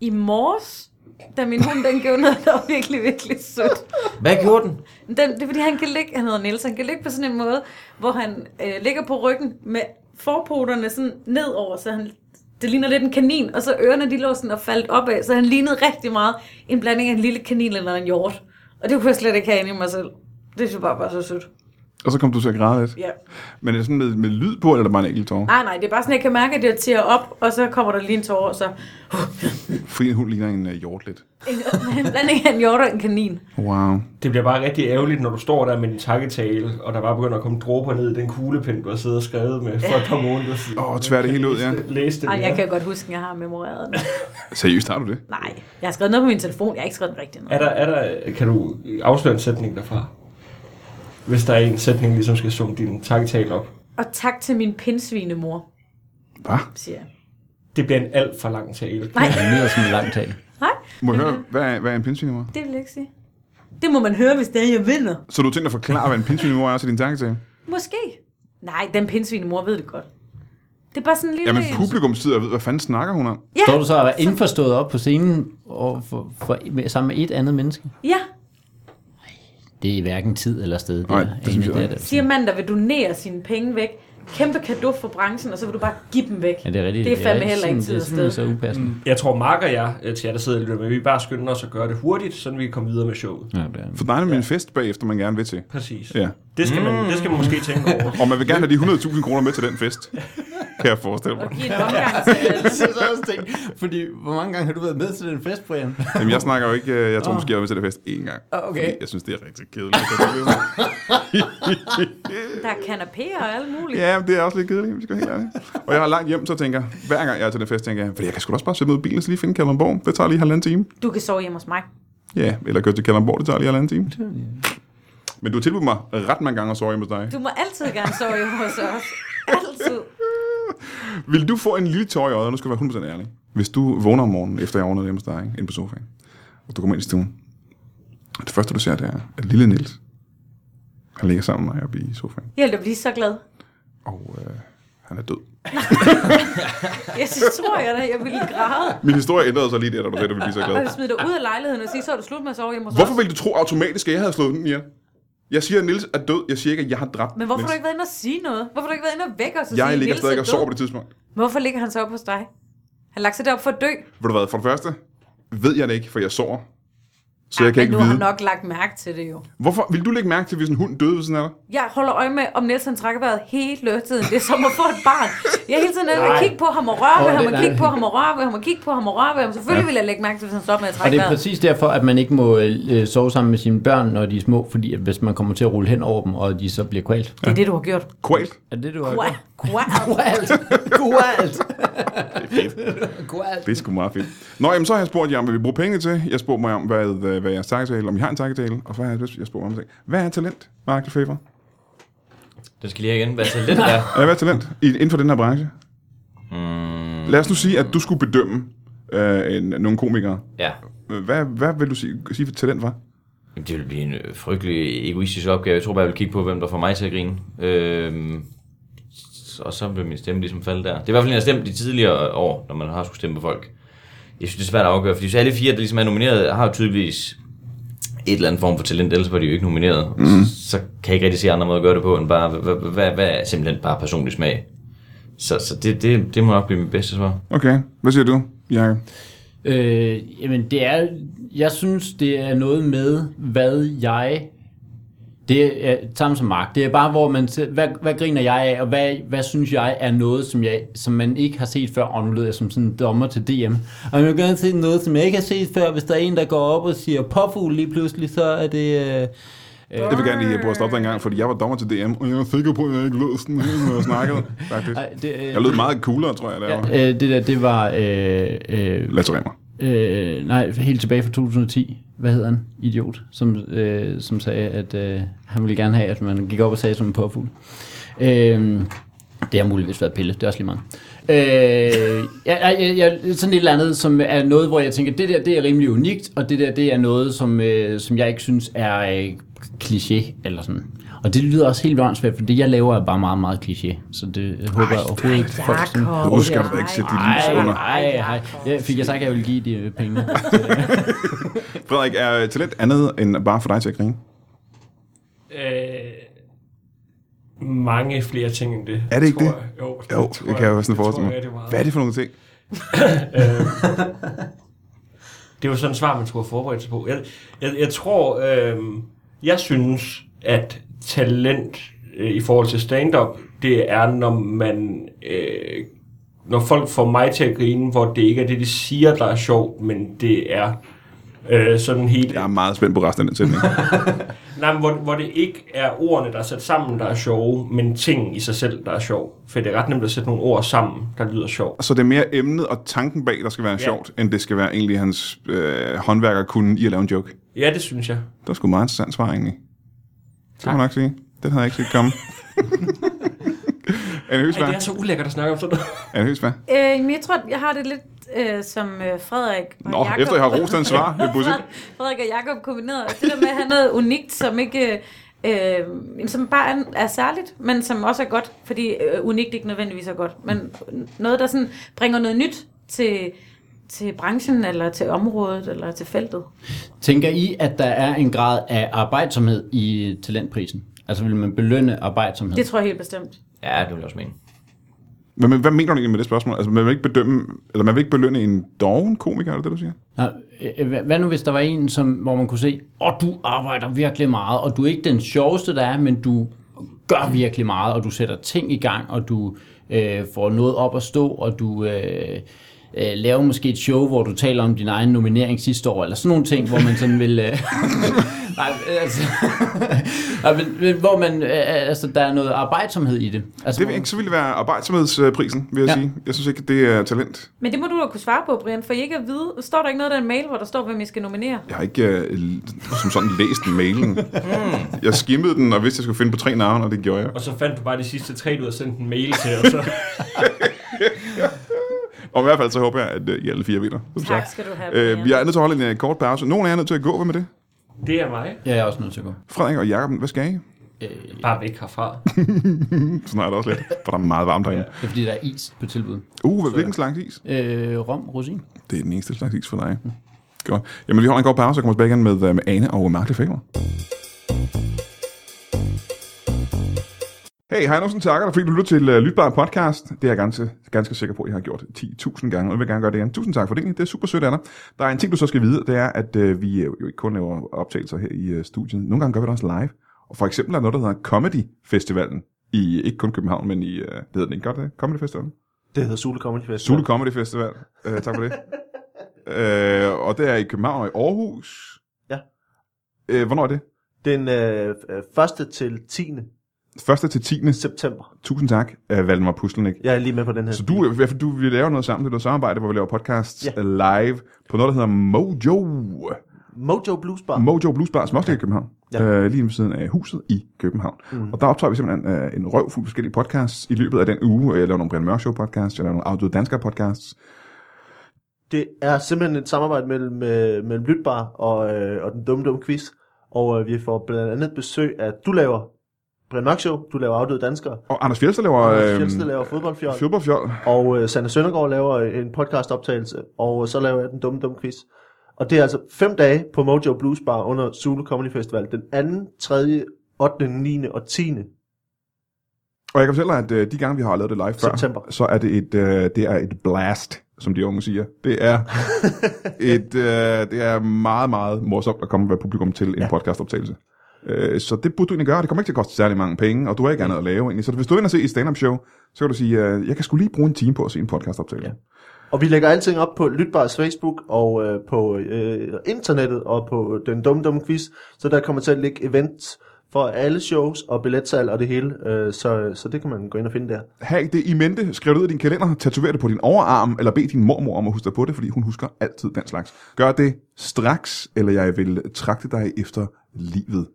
Speaker 2: I morges, da min hund, den gjorde noget, der var virkelig, virkelig sødt.
Speaker 3: Hvad gjorde den?
Speaker 2: Den, det er fordi, han kan ligge, han hedder Niels, han kan ligge på sådan en måde, hvor han øh, ligger på ryggen med forpoterne sådan nedover, så han, det ligner lidt en kanin, og så ørerne de lå sådan og faldt opad, så han lignede rigtig meget en blanding af en lille kanin eller en hjort. Og det kunne jeg slet ikke have inde i mig selv. Det synes jeg bare var så sødt.
Speaker 1: Og så kom du til at græde lidt.
Speaker 2: Ja.
Speaker 1: Men er det sådan med, med lyd på, eller er der bare en enkelt tårer?
Speaker 2: Nej, nej, det er bare sådan, jeg kan mærke, at det tiger op, og så kommer der lige en tårer, og så...
Speaker 1: Fordi hun ligner en uh, hjort lidt.
Speaker 2: en blanding af en hjort og en kanin.
Speaker 1: Wow.
Speaker 4: Det bliver bare rigtig ærgerligt, når du står der med din takketale, og der bare begynder at komme dråber ned i den kuglepen, du har siddet og skrevet med for et par måneder siden.
Speaker 1: Åh, tvær det hele ud, ja.
Speaker 4: Læs det.
Speaker 2: Ej, jeg kan godt huske, at jeg har memoreret den.
Speaker 1: Seriøst, har du det?
Speaker 2: Nej, jeg har skrevet noget på min telefon, jeg har ikke skrevet den rigtige
Speaker 4: Er der, er der, kan du afsløre en sætning derfra? Hvis der er en sætning, ligesom skal summe din takketale op.
Speaker 2: Og tak til min pinsvinemor,
Speaker 1: Hvad?
Speaker 2: siger jeg.
Speaker 4: Det bliver en alt for lang tale.
Speaker 2: Nej,
Speaker 5: Det lyder som en lang tale.
Speaker 2: nej,
Speaker 1: Må jeg høre, hvad er, hvad er en pindsvinemor?
Speaker 2: det vil jeg ikke sige. Det må man høre, hvis det er, jeg vinder.
Speaker 1: Så du tænker at forklare, hvad en pindsvinemor er til din tanketale?
Speaker 2: Måske. Nej, den pinsvinemor ved det godt. Det er bare sådan en lille...
Speaker 1: Jamen, publikum sidder og ved, hvad fanden snakker hun om?
Speaker 2: ja,
Speaker 5: Står du så og er indforstået op på scenen og for, for, med, sammen med et andet menneske?
Speaker 2: ja,
Speaker 5: Det er hverken tid eller sted. Det
Speaker 1: Nej,
Speaker 5: er,
Speaker 1: det
Speaker 5: egentlig,
Speaker 1: synes jeg
Speaker 5: det
Speaker 1: ikke.
Speaker 5: er det.
Speaker 2: siger mand, der vil donere sine penge væk. Kæmpe kado for branchen, og så vil du bare give dem væk.
Speaker 5: Ja, det er rigtigt.
Speaker 2: Det er fandme heller ikke
Speaker 5: sådan-
Speaker 2: tid
Speaker 5: Det
Speaker 2: og
Speaker 5: er simpelthen så
Speaker 2: sted.
Speaker 5: upassende. Mm.
Speaker 4: Jeg tror, Mark og jeg, øh, til jer, der sidder og lytter med, vi bare skynder os at gøre det hurtigt, så vi kan komme videre med showet.
Speaker 5: Ja, det er.
Speaker 1: For der er nemlig en fest bagefter, man gerne vil til.
Speaker 4: Præcis.
Speaker 1: Ja.
Speaker 4: Det skal, man, det skal man måske
Speaker 2: Mm.
Speaker 4: tænke over.
Speaker 1: Og man vil gerne have de 100.000 kroner med til den fest. Kan jeg forestille mig.
Speaker 2: Og give en omgang til alle.
Speaker 5: Jeg synes også ting, fordi hvor mange gange har du været med til den fest, Brian?
Speaker 1: Jamen, jeg snakker jo ikke... øh, Jeg tror måske, jeg var med til den fest én gang.
Speaker 5: Ah, okay.
Speaker 1: Fordi jeg synes, det er rigtig kedeligt.
Speaker 2: Der er kanapéer og alt muligt.
Speaker 1: ja, men det er også lidt kedeligt, hvis jeg skal være helt ærlig. Og jeg har langt hjem, så tænker jeg, hver gang jeg er til den fest, tænker jeg, fordi jeg kan sgu da også bare sætte mig ud i bilen og så lige finde Kalundborg. Det tager lige halvanden time.
Speaker 2: Du kan sove hjemme hos mig.
Speaker 1: Ja, eller køre til Kalundborg, det tager lige halvanden time. Men du har tilbudt mig ret mange gange at sove hjemme hos dig.
Speaker 2: Du må altid gerne sove hjemme hos os. Altid.
Speaker 1: Vil du få en lille tår i øjet, og nu skal jeg være 100% ærlig, hvis du vågner om morgenen, efter jeg ordnede hjemme hos dig, ikke? inde på sofaen, og du kommer ind i stuen, og det første, du ser, det er, at lille Nils, han ligger sammen med mig oppe i sofaen,
Speaker 2: Jeg ville da blive så glad.
Speaker 1: og øh, han er død.
Speaker 2: Jeg synes, tror jeg da, jeg ville græde.
Speaker 1: Min historie ændrede sig lige der, da du sagde, at du ville blive så
Speaker 2: Og
Speaker 1: glad.
Speaker 2: jeg smider dig ud af lejligheden og siger, så er du slut med at sove hjemme hos
Speaker 1: Hvorfor
Speaker 2: os.
Speaker 1: ville du tro automatisk, at jeg havde slået den ihjel? Jeg siger, at Nils er død. Jeg siger ikke, at jeg har dræbt
Speaker 2: Men hvorfor har
Speaker 1: Niels.
Speaker 2: du ikke været inde og sige noget? Hvorfor har du ikke været inde og vække os og
Speaker 1: Jeg
Speaker 2: sige,
Speaker 1: ligger
Speaker 2: Niels
Speaker 1: stadig
Speaker 2: er
Speaker 1: og sover på
Speaker 2: død?
Speaker 1: det tidspunkt.
Speaker 2: Hvorfor ligger han så op hos dig? Han lagt sig derop for at dø.
Speaker 1: Ved du hvad, for det første ved jeg det ikke, for jeg sover. Så jeg kan
Speaker 2: men
Speaker 1: ikke
Speaker 2: nu har
Speaker 1: vide.
Speaker 2: han nok lagt mærke til det jo.
Speaker 1: Hvorfor? Vil du lægge mærke til, hvis en hund døde ved sådan her?
Speaker 2: Jeg holder øje med, om Nielsen trækker vejret hele tiden. Det er som at få et barn. Jeg er hele tiden nødt til at
Speaker 4: Nej.
Speaker 2: kigge på ham og røre
Speaker 5: Åh,
Speaker 2: ved
Speaker 5: det-
Speaker 2: ham, og
Speaker 5: nej.
Speaker 2: kigge på ham og røre ved ham, og kigge på ham og røre ved ham. Selvfølgelig vil jeg lægge mærke til, hvis han stopper med at
Speaker 5: Og
Speaker 2: trække
Speaker 5: det er
Speaker 2: vejret.
Speaker 5: præcis derfor, at man ikke må øh, sove sammen med sine børn, når de er små, fordi at hvis man kommer til at rulle hen over dem, og de så bliver kvalt.
Speaker 2: Det er det, du har gjort.
Speaker 1: Kvalt.
Speaker 5: Er det, du har
Speaker 2: Wow. Wow.
Speaker 5: Kvalt! Kvalt!
Speaker 1: Det er sgu meget fedt. Nå, jamen, så har jeg spurgt jer om, hvad vi bruger penge til. Jeg spurgte mig om, hvad, øh, hvad jeres takketale, om I har en takketale. Og så har jeg, jeg spurgt mig om, ting. hvad er talent, Mark Lefebvre?
Speaker 3: Den skal lige have igen. Hvad så lidt der?
Speaker 1: Ja, hvad er talent i- inden for den her branche? Mm. Lad os nu sige, at du skulle bedømme øh, en, nogle komikere.
Speaker 3: Ja.
Speaker 1: Hvad, hvad vil du sige, sige for talent var?
Speaker 3: Jamen, det ville blive en øh, frygtelig egoistisk opgave. Jeg tror bare, jeg ville kigge på, hvem der får mig til at grine. Øhm, s- og så vil min stemme ligesom falde der. Det er i hvert fald, en, jeg har stemt de tidligere år, når man har skulle stemme på folk. Jeg synes, det er svært at afgøre, fordi så alle fire, der ligesom er nomineret, har jo tydeligvis et eller andet form for talent, ellers var de jo ikke nomineret. Mm. Så kan jeg ikke rigtig se andre måder at gøre det på, end bare, hvad, hvad, hvad, hvad er simpelthen bare personlig smag? Så, så det, det, det må nok blive mit bedste svar.
Speaker 1: Okay, hvad siger du, Jacob?
Speaker 5: Øh, jamen, det er... Jeg synes, det er noget med, hvad jeg... Det er samme som Mark. Det er bare, hvor man... ser, Hvad, hvad griner jeg af, og hvad, hvad synes jeg er noget, som, jeg, som man ikke har set før? Og nu lyder jeg som sådan en dommer til DM. Og jeg vil gerne se noget, som jeg ikke har set før. Hvis der er en, der går op og siger påfugl lige pludselig, så er det... Øh,
Speaker 1: Jeg vil gerne lige prøve at stoppe dig en gang, fordi jeg var dommer til DM, og jeg er sikker på, at jeg ikke lød sådan, når jeg snakkede. Faktisk.
Speaker 5: ej, det, øh,
Speaker 1: Jeg lød meget coolere, tror jeg, derovre.
Speaker 5: Ja, øh, det der, det var... Øh, øh,
Speaker 1: Lasse Remmer.
Speaker 5: øh, nej, helt tilbage fra 2010. Hvad hedder han? Idiot. Som, øh, som sagde, at øh, han ville gerne have, at man gik op og sagde som en påfugl. Øh, det har muligvis været pille. Det er også lige meget. Øh, jeg, jeg, jeg, sådan et eller andet, som er noget, hvor jeg tænker, det der det er rimelig unikt, og det der det er noget, som, øh, som jeg ikke synes er øh, kliché eller sådan. Og det lyder også helt åndssvagt, for det jeg laver er bare meget, meget kliché. Så det jeg håber jeg overhovedet ikke, folk sådan
Speaker 2: Jakob.
Speaker 1: Nu skal du da ikke sætte dit lys under.
Speaker 5: Nej, nej, nej. Fik jeg sagt, at jeg ville give de øh, penge?
Speaker 1: Frederik, er talent andet end bare for dig til at grine?
Speaker 4: Øh, mange flere ting end det.
Speaker 1: Er det ikke
Speaker 4: tror
Speaker 1: det?
Speaker 4: Jeg. Jo,
Speaker 1: Jo, det kan jeg jo sådan forestille mig.
Speaker 4: Det, tror jeg
Speaker 1: Hvad er
Speaker 4: rigtig
Speaker 1: det for nogle ting?
Speaker 4: meget. det er jo sådan et svar, man skulle have forberedt sig på. Jeg, jeg, jeg tror, øh, jeg synes, at talent øh, i forhold til stand-up, det er, når man... Øh, når folk får mig til at grine, hvor det ikke er det, de siger, der er sjovt, men det er øh, sådan helt
Speaker 1: Jeg er meget spændt på resten af den sætning.
Speaker 4: Nej, men hvor, hvor det ikke er ordene, der er sat sammen, der er sjove, men ting i sig selv, der er sjov. For det er ret nemt at sætte nogle ord sammen, der lyder sjov.
Speaker 1: Så det er mere emnet og tanken bag, der skal være sjovt, end det skal være egentlig hans øh, håndværker kunne i at lave en joke.
Speaker 4: Ja, det synes jeg.
Speaker 1: Det var sgu meget interessant svar, egentlig. Det må jeg nok sige. Den havde jeg ikke set komme. Anne Høgsberg.
Speaker 4: Ej, det er så ulækkert at snakke om sådan noget.
Speaker 1: Anne Høgsberg.
Speaker 2: Øh, men jeg tror, jeg har det lidt øh, som øh, Frederik og
Speaker 1: Nå,
Speaker 2: Jakob.
Speaker 1: efter jeg har rost hans svar, det er pudsigt.
Speaker 2: Frederik og Jakob kombineret. Og det der med at have noget unikt, som ikke... Øh, jamen, som bare er, er særligt, men som også er godt, fordi øh, unikt ikke nødvendigvis er godt, men noget, der sådan bringer noget nyt til, til branchen, eller til området, eller til feltet.
Speaker 5: Tænker I, at der er en grad af arbejdsomhed i talentprisen? Altså vil man belønne arbejdsomhed?
Speaker 2: Det tror jeg helt bestemt.
Speaker 3: Ja, det vil jeg også mene.
Speaker 1: Hvad, men hvad mener du egentlig med det spørgsmål? Altså, man vil ikke, bedømme, eller man vil ikke belønne en doven komiker, er det det, du siger?
Speaker 5: Nå, øh, hva- Hvad nu hvis der var en, som, hvor man kunne se, åh, du arbejder virkelig meget, og du er ikke den sjoveste, der er, men du gør virkelig meget, og du sætter ting i gang, og du øh, får noget op at stå, og du øh, øh, laver måske et show, hvor du taler om din egen nominering sidste år, eller sådan nogle ting, hvor man sådan vil... Øh, nej, altså... nej, men, men, hvor man... Øh, altså, der er noget arbejdsomhed i det. Altså,
Speaker 1: Det vil ikke, så ville det være arbejdsomhedsprisen, vil jeg ja.
Speaker 5: Ja.
Speaker 1: sige. Jeg synes ikke, det er talent.
Speaker 2: Men det må du da kunne svare på, Brian, for I ikke at vide, står der ikke noget i den mail, hvor der står, hvem I skal nominere?
Speaker 1: Jeg har ikke øh, l- som sådan læst mailen.
Speaker 2: Hmm.
Speaker 1: Jeg skimmede den, og vidste, jeg skulle finde på tre navne, og det gjorde jeg.
Speaker 4: Og så fandt du bare de sidste tre, du havde sendt en mail til, og så...
Speaker 1: Og i hvert fald så håber jeg, at øh, I alle fire vinder. som
Speaker 2: Tak
Speaker 1: sagt.
Speaker 2: skal du have, Brian.
Speaker 1: Øh, jeg er nødt til at holde en øh, kort pause. Nogen af jer er nødt til at gå. Hvad med det?
Speaker 4: Det er mig.
Speaker 5: Ja, jeg er også nødt til at gå.
Speaker 1: Frederik og Jakob, hvad skal I?
Speaker 4: Bare væk herfra.
Speaker 1: Sådan er det også lidt, for der er meget varmt derinde.
Speaker 5: Det er, fordi der er is på tilbud.
Speaker 1: Uh, hvad, hvilken slags is?
Speaker 5: Øh, rom, rosin.
Speaker 1: Det er den eneste slags is for dig. Godt. Jamen, vi holder en kort pause og kommer tilbage igen med, øh, med Ane og Mark Lefebvre. Hey, hej Nosen, takker dig, fordi du lytter til uh, Lytbar Podcast. Det er jeg ganske, ganske sikker på, at jeg har gjort 10.000 gange, og jeg vil gerne gøre det igen. Tusind tak for det, det er super sødt af dig. Der er en ting, du så skal vide, det er, at uh, vi øh, jo ikke kun laver optagelser her i uh, studiet. Nogle gange gør vi det også live. Og for eksempel er der noget, der hedder Comedy Festivalen. I, ikke kun København, men i, uh, det hedder den ikke godt, det? Comedy Festivalen?
Speaker 6: Det hedder Sule Comedy Festival.
Speaker 1: Zulu Comedy Festival. Uh, tak for det. uh, og det er i København og i Aarhus.
Speaker 6: Ja.
Speaker 1: Uh, hvornår er det?
Speaker 6: Den øh, øh, første til 10.
Speaker 1: 1. til 10.
Speaker 6: september.
Speaker 1: Tusind tak, uh, Valdemar Puslenik.
Speaker 6: Jeg er lige med på den her.
Speaker 1: Så du, i hvert fald, du, vi laver noget sammen, det er noget samarbejde, hvor vi laver podcasts ja.
Speaker 6: Ja.
Speaker 1: live på noget, der hedder Mojo.
Speaker 6: Mojo Blues Bar.
Speaker 1: Mojo Blues Bar, som også ligger i København. Ah. Ja.
Speaker 6: Ja.
Speaker 1: Øh, lige ved siden af huset i København. Mm. Og der optager vi simpelthen øh, en røvfuld forskellige podcasts i løbet af den uge. Jeg laver nogle Brian Mørk Show podcasts, jeg laver nogle Audio Dansker podcasts.
Speaker 6: Det er simpelthen et samarbejde mellem, øh, mellem Lytbar og, øh, og den dumme dumme quiz. Og øh, vi får blandt andet besøg af, du laver Brian Mørk Show, du laver Afdøde Danskere,
Speaker 1: Og Anders Fjeldsted laver,
Speaker 6: og
Speaker 1: øh,
Speaker 6: Fjeldsted laver Fodboldfjold,
Speaker 1: Fjolberfjold.
Speaker 6: og øh, Sanne Søndergaard laver en podcastoptagelse, og øh, så laver jeg den dumme dumme quiz. Og det er altså fem dage på Mojo Blues Bar under Zulu Comedy Festival, den 2., 3., 8., 9. og 10.
Speaker 1: Og jeg kan fortælle dig, at øh, de gange, vi har lavet det live før,
Speaker 6: September.
Speaker 1: så er det et, øh, det er et blast, som de unge siger. Det er, et, øh, det er meget, meget morsomt at komme med publikum til en ja. podcastoptagelse. Øh, så det burde du egentlig gøre, det kommer ikke til at koste særlig mange penge, og du har ikke andet at lave egentlig. Så hvis du vil ind og se et stand-up show, så kan du sige, øh, jeg kan skulle lige bruge en time på at se en podcastoptagelse. Ja.
Speaker 6: Ja. Og vi lægger alting op på Lytbars Facebook og øh, på øh, internettet og på den dumme dumme quiz, så der kommer til at ligge events for alle shows og billetsal og det hele, øh, så, så det kan man gå ind og finde der.
Speaker 1: Have det i mente, skriv det ud i din kalender, tatover det på din overarm, eller bed din mormor om at huske dig på det, fordi hun husker altid den slags. Gør det straks, eller jeg vil trakte dig efter livet.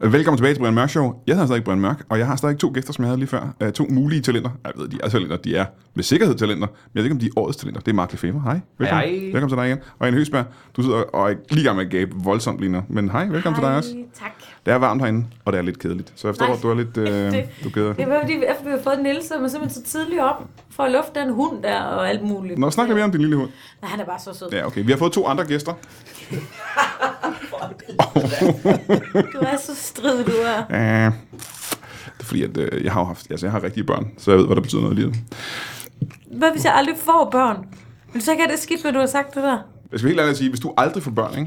Speaker 1: Velkommen tilbage til Brian Mørk Show. Jeg hedder stadig Brian Mørk, og jeg har stadig to gæster, som jeg havde lige før. Uh, to mulige talenter. Ej, Jeg ved, de er talenter. De er med sikkerhed talenter, men jeg ved ikke, om de er årets talenter. Det er Mark Lefebvre. Hej. Velkommen.
Speaker 3: Hej.
Speaker 1: Velkommen til dig igen. Og Anne Høsberg, du sidder og er lige i gang med at gabe voldsomt lige nu. Men hej, velkommen til dig også.
Speaker 2: Tak.
Speaker 1: Det er varmt herinde, og det er lidt kedeligt. Så jeg forstår,
Speaker 2: Nej.
Speaker 1: at du er lidt...
Speaker 2: Det-
Speaker 1: Øh, du keder.
Speaker 2: Det var fordi, efter vi har fået Niels, så er man simpelthen så tidligt op for at lufte den hund der og alt muligt.
Speaker 1: Nå, snak lidt mere om din lille hund.
Speaker 2: Nej, han er bare så sød.
Speaker 1: Ja, okay. Vi har fået to andre gæster.
Speaker 2: Du er så strid, du er.
Speaker 1: Uh, det er fordi, at øh, jeg har jo haft... Altså, jeg har rigtige børn, så jeg ved, hvad der betyder noget i livet.
Speaker 2: Hvad hvis jeg aldrig får børn? Vil du så ikke have det skidt, hvad du har sagt det der?
Speaker 1: Jeg skal helt ærligt sige, hvis du aldrig får børn, ikke?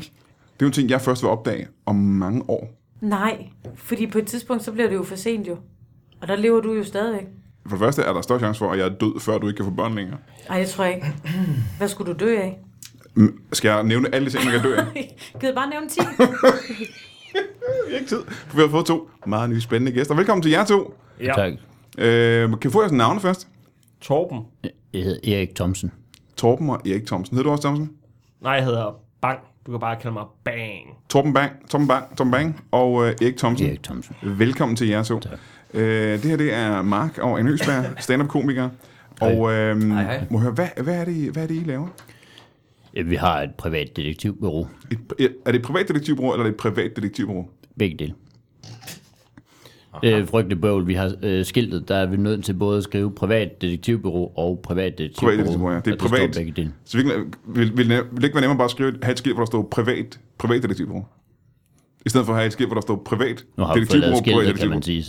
Speaker 1: Det er jo en ting, jeg først vil opdage om mange år.
Speaker 2: Nej, fordi på et tidspunkt, så bliver det jo for sent jo. Og der lever du jo stadigvæk.
Speaker 1: For det første er der større chance for, at jeg er død, før du ikke kan få børn længere.
Speaker 2: Nej, det tror jeg ikke. Hvad skulle du dø af?
Speaker 1: Mm, Skal jeg nævne alle de ting, man kan dø af?
Speaker 2: Givet bare nævne 10.
Speaker 1: Vi har ikke tid, for vi har fået to meget nye spændende gæster. Velkommen til jer to.
Speaker 4: Ja.
Speaker 5: Tak.
Speaker 1: Øh, kan vi få jeres navne først?
Speaker 4: Torben.
Speaker 5: Jeg hedder Erik Thomsen.
Speaker 1: Torben og Erik Thomsen. Hedder du også Thomsen?
Speaker 4: Nej, jeg hedder Bang. Du kan bare kalde mig Bang.
Speaker 1: Torben Bang, Torben Bang, Torben Bang og øh, Erik Thomsen.
Speaker 5: Erik Thomsen.
Speaker 1: Velkommen til jer så. Øh, det her det er Mark og Anne Øsberg, stand-up-komiker. Og øh,
Speaker 3: hej.
Speaker 1: må jeg høre, hvad, hvad, er det, I- hvad er det, I laver?
Speaker 5: Ja, Vi har et privat detektivbureau.
Speaker 1: Et, er det et privatdetektivbureau, eller er det et privat detektivbureau?
Speaker 5: Begge dele. Øh, frygtelig bøvl. Vi har øh, skiltet, der er vi nødt til både at skrive privat detektivbureau og privat detektivbureau.
Speaker 1: Privatdetektivbureau, ja. Det er
Speaker 5: og Det
Speaker 1: privat.
Speaker 5: står begge dele.
Speaker 1: Så vil, vil, vil, vil det ikke være nemmere bare at skrive, et- have et skilt, hvor der står privat, privatdetektivbureau? I stedet for at have et skilt, hvor der står privat,
Speaker 5: Nu har vi fået lavet skiltet, kan
Speaker 1: privatdetektivbureau.
Speaker 5: man sige.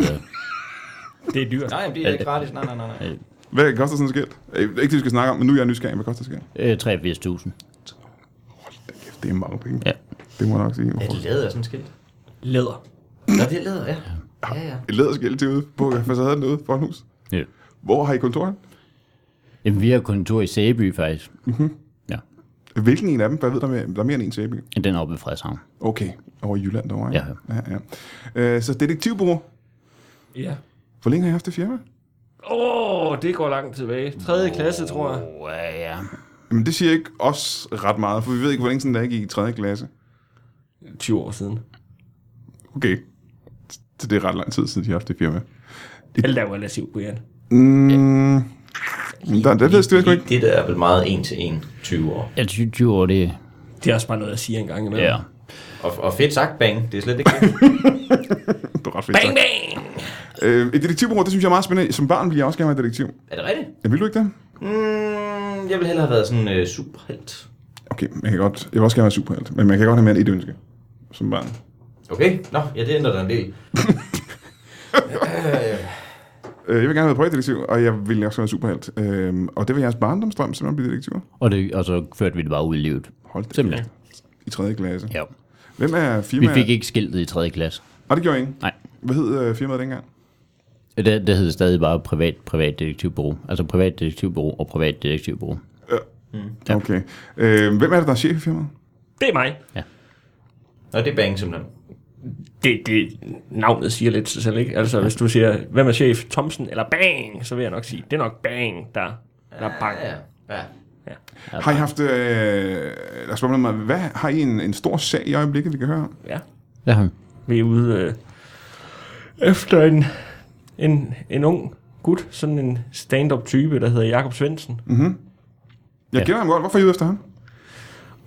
Speaker 5: Så.
Speaker 4: Det er dyrt.
Speaker 3: Nej, jamen, det er ikke gratis. Nej, nej, nej. nej.
Speaker 1: Hvad koster sådan et skilt? Øh, Ikke det, vi skal snakke om, men nu er jeg nysgerrig. Hvad koster sådan et
Speaker 5: Øh, 83.000.
Speaker 1: skilt? Det er mange penge.
Speaker 5: Ja.
Speaker 1: Det må jeg nok sige.
Speaker 3: Er det lavet af sådan et skilt?
Speaker 4: Læder.
Speaker 3: Nå, det er lavet, ja. Ja, ja.
Speaker 1: Et læderskilt til ude på facaden ude foran huset.
Speaker 5: Ja.
Speaker 1: Hvor har I kontoret?
Speaker 5: Jamen, vi har kontor i Sæby, faktisk.
Speaker 1: Hvilken en af dem? Hvad ved der, med, der er mere end en sæbe?
Speaker 5: Den er oppe i Frederikshavn.
Speaker 1: Okay, over i Jylland derovre. ikke?
Speaker 5: Ja,
Speaker 1: ja, ja. Øh, så detektivbureau.
Speaker 4: Ja.
Speaker 1: Hvor længe har I haft det firma?
Speaker 4: Åh, oh, det går langt tilbage. 3. klasse, tror jeg.
Speaker 5: Oh, ja.
Speaker 1: Jamen, det siger ikke os ret meget, for vi ved ikke, hvor længe siden der gik i 3. klasse.
Speaker 4: 20 år siden.
Speaker 1: Okay. Så det er ret lang tid siden, de har haft det firma.
Speaker 4: Alt er jo relativt, Brian.
Speaker 1: Mm, der, det ved jeg sgu ikke.
Speaker 3: Det der er vel meget en til en 20 år.
Speaker 5: Jeg synes, 20 år, det
Speaker 4: Det er også bare noget, jeg siger en gang imellem.
Speaker 5: Ja.
Speaker 3: Og, og fedt sagt, bang. Det er slet ikke det.
Speaker 1: Det er ret fedt. Bang,
Speaker 4: bang!
Speaker 1: Øh, et detektivbureau, det synes jeg er meget spændende. Som barn ville jeg også gerne være detektiv.
Speaker 3: Er det rigtigt?
Speaker 1: Ja, vil du ikke det?
Speaker 3: Mm, jeg ville hellere have været sådan en øh, superhelt.
Speaker 1: Okay, jeg kan godt. Jeg vil også gerne være superhelt, men man kan godt have mere end et ønske som barn.
Speaker 3: Okay, nå, ja, det ændrer da en del.
Speaker 1: Øh, jeg vil gerne være privatdetektiv, og jeg vil også være superhelt. Øh, og det var jeres barndomsdrøm, simpelthen at blive detektiver.
Speaker 5: Og, det, og så førte vi det bare ud i livet.
Speaker 1: Hold da.
Speaker 5: Simpelthen.
Speaker 1: I 3. klasse.
Speaker 5: Ja.
Speaker 1: Hvem er
Speaker 5: Vi
Speaker 1: firmaet?
Speaker 5: fik ikke skiltet i 3. klasse.
Speaker 1: Nej, det gjorde ingen.
Speaker 5: Nej.
Speaker 1: Hvad hed øh, firmaet dengang?
Speaker 5: Det, det hed stadig bare privat, privat detektivbureau. Altså privat detektivbureau og privat detektivbureau.
Speaker 1: Ja. Okay. Øh, hvem er det, der er chef i firmaet?
Speaker 4: Det er mig.
Speaker 3: Nå, det er bang simpelthen.
Speaker 4: Det, det, navnet siger lidt sig selv, ikke? Altså, hvis du siger, hvem er chef? Thomsen eller Bang, så vil jeg nok sige, det er nok Bang, der, der er bang.
Speaker 3: Ja, ja.
Speaker 1: Har I haft... Øh, lad os spørge mig, hvad har I en, en stor sag i øjeblikket, vi kan høre om?
Speaker 4: Ja.
Speaker 5: Ja.
Speaker 4: Vi er ude øh, efter en, en, en ung gut, sådan en stand-up type, der hedder Jakob Svendsen. Mm.
Speaker 1: Jeg ja. kender ham godt. Hvorfor er I ude efter ham?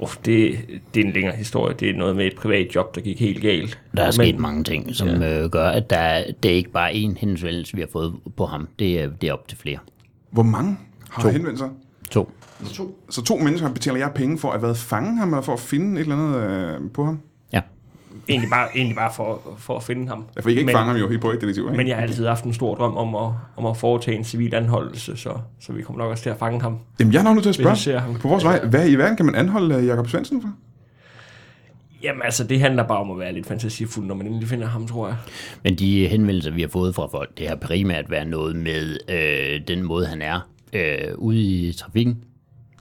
Speaker 4: Oh, det, det er en længere historie. Det er noget med et privat job, der gik helt galt.
Speaker 5: Der er
Speaker 4: Men-
Speaker 5: sket mange ting, som ja. øh, gør, at der, er- det er ikke bare én henvendelse, vi har fået på ham. Det er, det er op til flere.
Speaker 1: Hvor mange har to. henvendt sig?
Speaker 5: To.
Speaker 1: Så to mennesker betaler jeg penge for at være fange ham, eller for at finde et eller andet øh, på ham?
Speaker 5: Ja.
Speaker 4: Egentlig bare, egentlig bare for, for at finde ham.
Speaker 1: Ja, for I kan ikke
Speaker 4: men,
Speaker 1: fange ham jo helt på et detektiv, ikke?
Speaker 4: Men jeg har altid haft en stor drøm om at, om at foretage en civil anholdelse, så, så vi kommer nok også til at fange ham.
Speaker 1: Jamen, jeg er nok nødt til at
Speaker 4: Hvis jeg ser ham.
Speaker 1: spørge. På vores vej, hvad i verden kan man anholde øh, Jakob Svendsen for?
Speaker 4: Jamen altså, det handler bare om at være lidt fantasifuld, når man endelig finder ham, tror jeg.
Speaker 5: Men de henvendelser, vi har fået fra folk, det har primært været noget med øh, den måde, han er øh, ude i trafikken.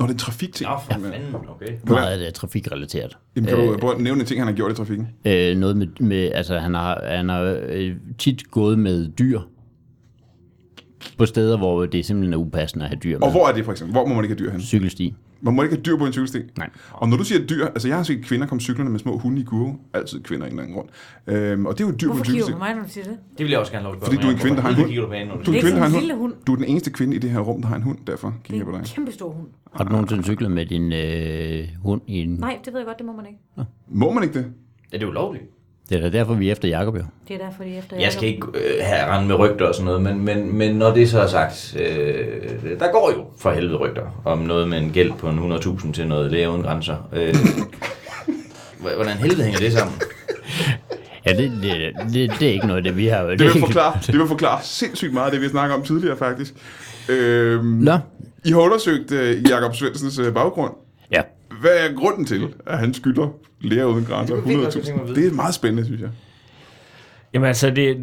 Speaker 1: Nå, det er trafikting.
Speaker 3: Nå, for fanden, okay.
Speaker 5: Meget af det er trafikrelateret.
Speaker 1: Jamen, kan du prøve at nævne en ting, han har gjort i trafikken?
Speaker 5: Øh, noget med, med, altså han har, han har øh, tit gået med dyr på steder, hvor det simpelthen er upassende at have dyr med.
Speaker 1: Og hvor er det for eksempel? Hvor må man ikke have dyr hen?
Speaker 5: Cykelsti.
Speaker 1: Man må ikke have dyr på en cykelsti.
Speaker 5: Nej.
Speaker 1: Og når du siger dyr, altså jeg har set kvinder komme cyklerne med små hunde i kurve. Altid kvinder af en eller anden grund. Øhm, og det er jo dyr på
Speaker 2: Hvorfor
Speaker 1: en
Speaker 2: kigger
Speaker 1: cykelsti.
Speaker 2: du på mig, når du siger det?
Speaker 3: Det vil jeg også gerne have lov til at
Speaker 1: Fordi
Speaker 3: gøre,
Speaker 1: du er en
Speaker 3: men
Speaker 1: kvinde, der har en
Speaker 3: hvorfor
Speaker 1: hund.
Speaker 3: kigger Du, på hende, når
Speaker 1: Du
Speaker 2: Det
Speaker 1: er,
Speaker 2: er
Speaker 1: en kvinde, der har
Speaker 2: ikke
Speaker 1: en hund.
Speaker 2: sådan en lille hund.
Speaker 1: du er den eneste kvinde i det her rum, der har en hund. Derfor
Speaker 2: Det
Speaker 1: kigger jeg på
Speaker 2: er
Speaker 1: dig.
Speaker 2: en kæmpe stor hund.
Speaker 5: Har du nogensinde cyklet med din øh, hund i en...
Speaker 2: Nej, det ved jeg godt, det må man ikke.
Speaker 1: Må man ikke det?
Speaker 3: Ja, det er jo lovligt.
Speaker 5: Det er da derfor, vi er efter Jacob jo.
Speaker 2: Det er derfor, de er efter
Speaker 3: Jeg skal ikke øh, have rende med rygter og sådan noget, men, men, men når det så er sagt, øh, der går jo for helvede rygter om noget med en gæld på en 100.000 til noget læger uden grænser. Øh, hvordan helvede hænger det sammen?
Speaker 5: Ja, det, det, det, det er ikke noget, det vi har...
Speaker 1: Det vil forklare, det vil forklare sindssygt meget af det, vi snakker om tidligere, faktisk. Øhm,
Speaker 5: Nå.
Speaker 1: I har undersøgt øh, Jakob Svendsens øh, baggrund.
Speaker 5: Ja.
Speaker 1: Hvad er grunden til, at han skylder læger uden grænser
Speaker 3: Det kunne jeg virkelig godt tænke mig at
Speaker 1: 100.000?
Speaker 3: vide.
Speaker 1: Det er meget spændende, synes jeg.
Speaker 4: Jamen altså, det,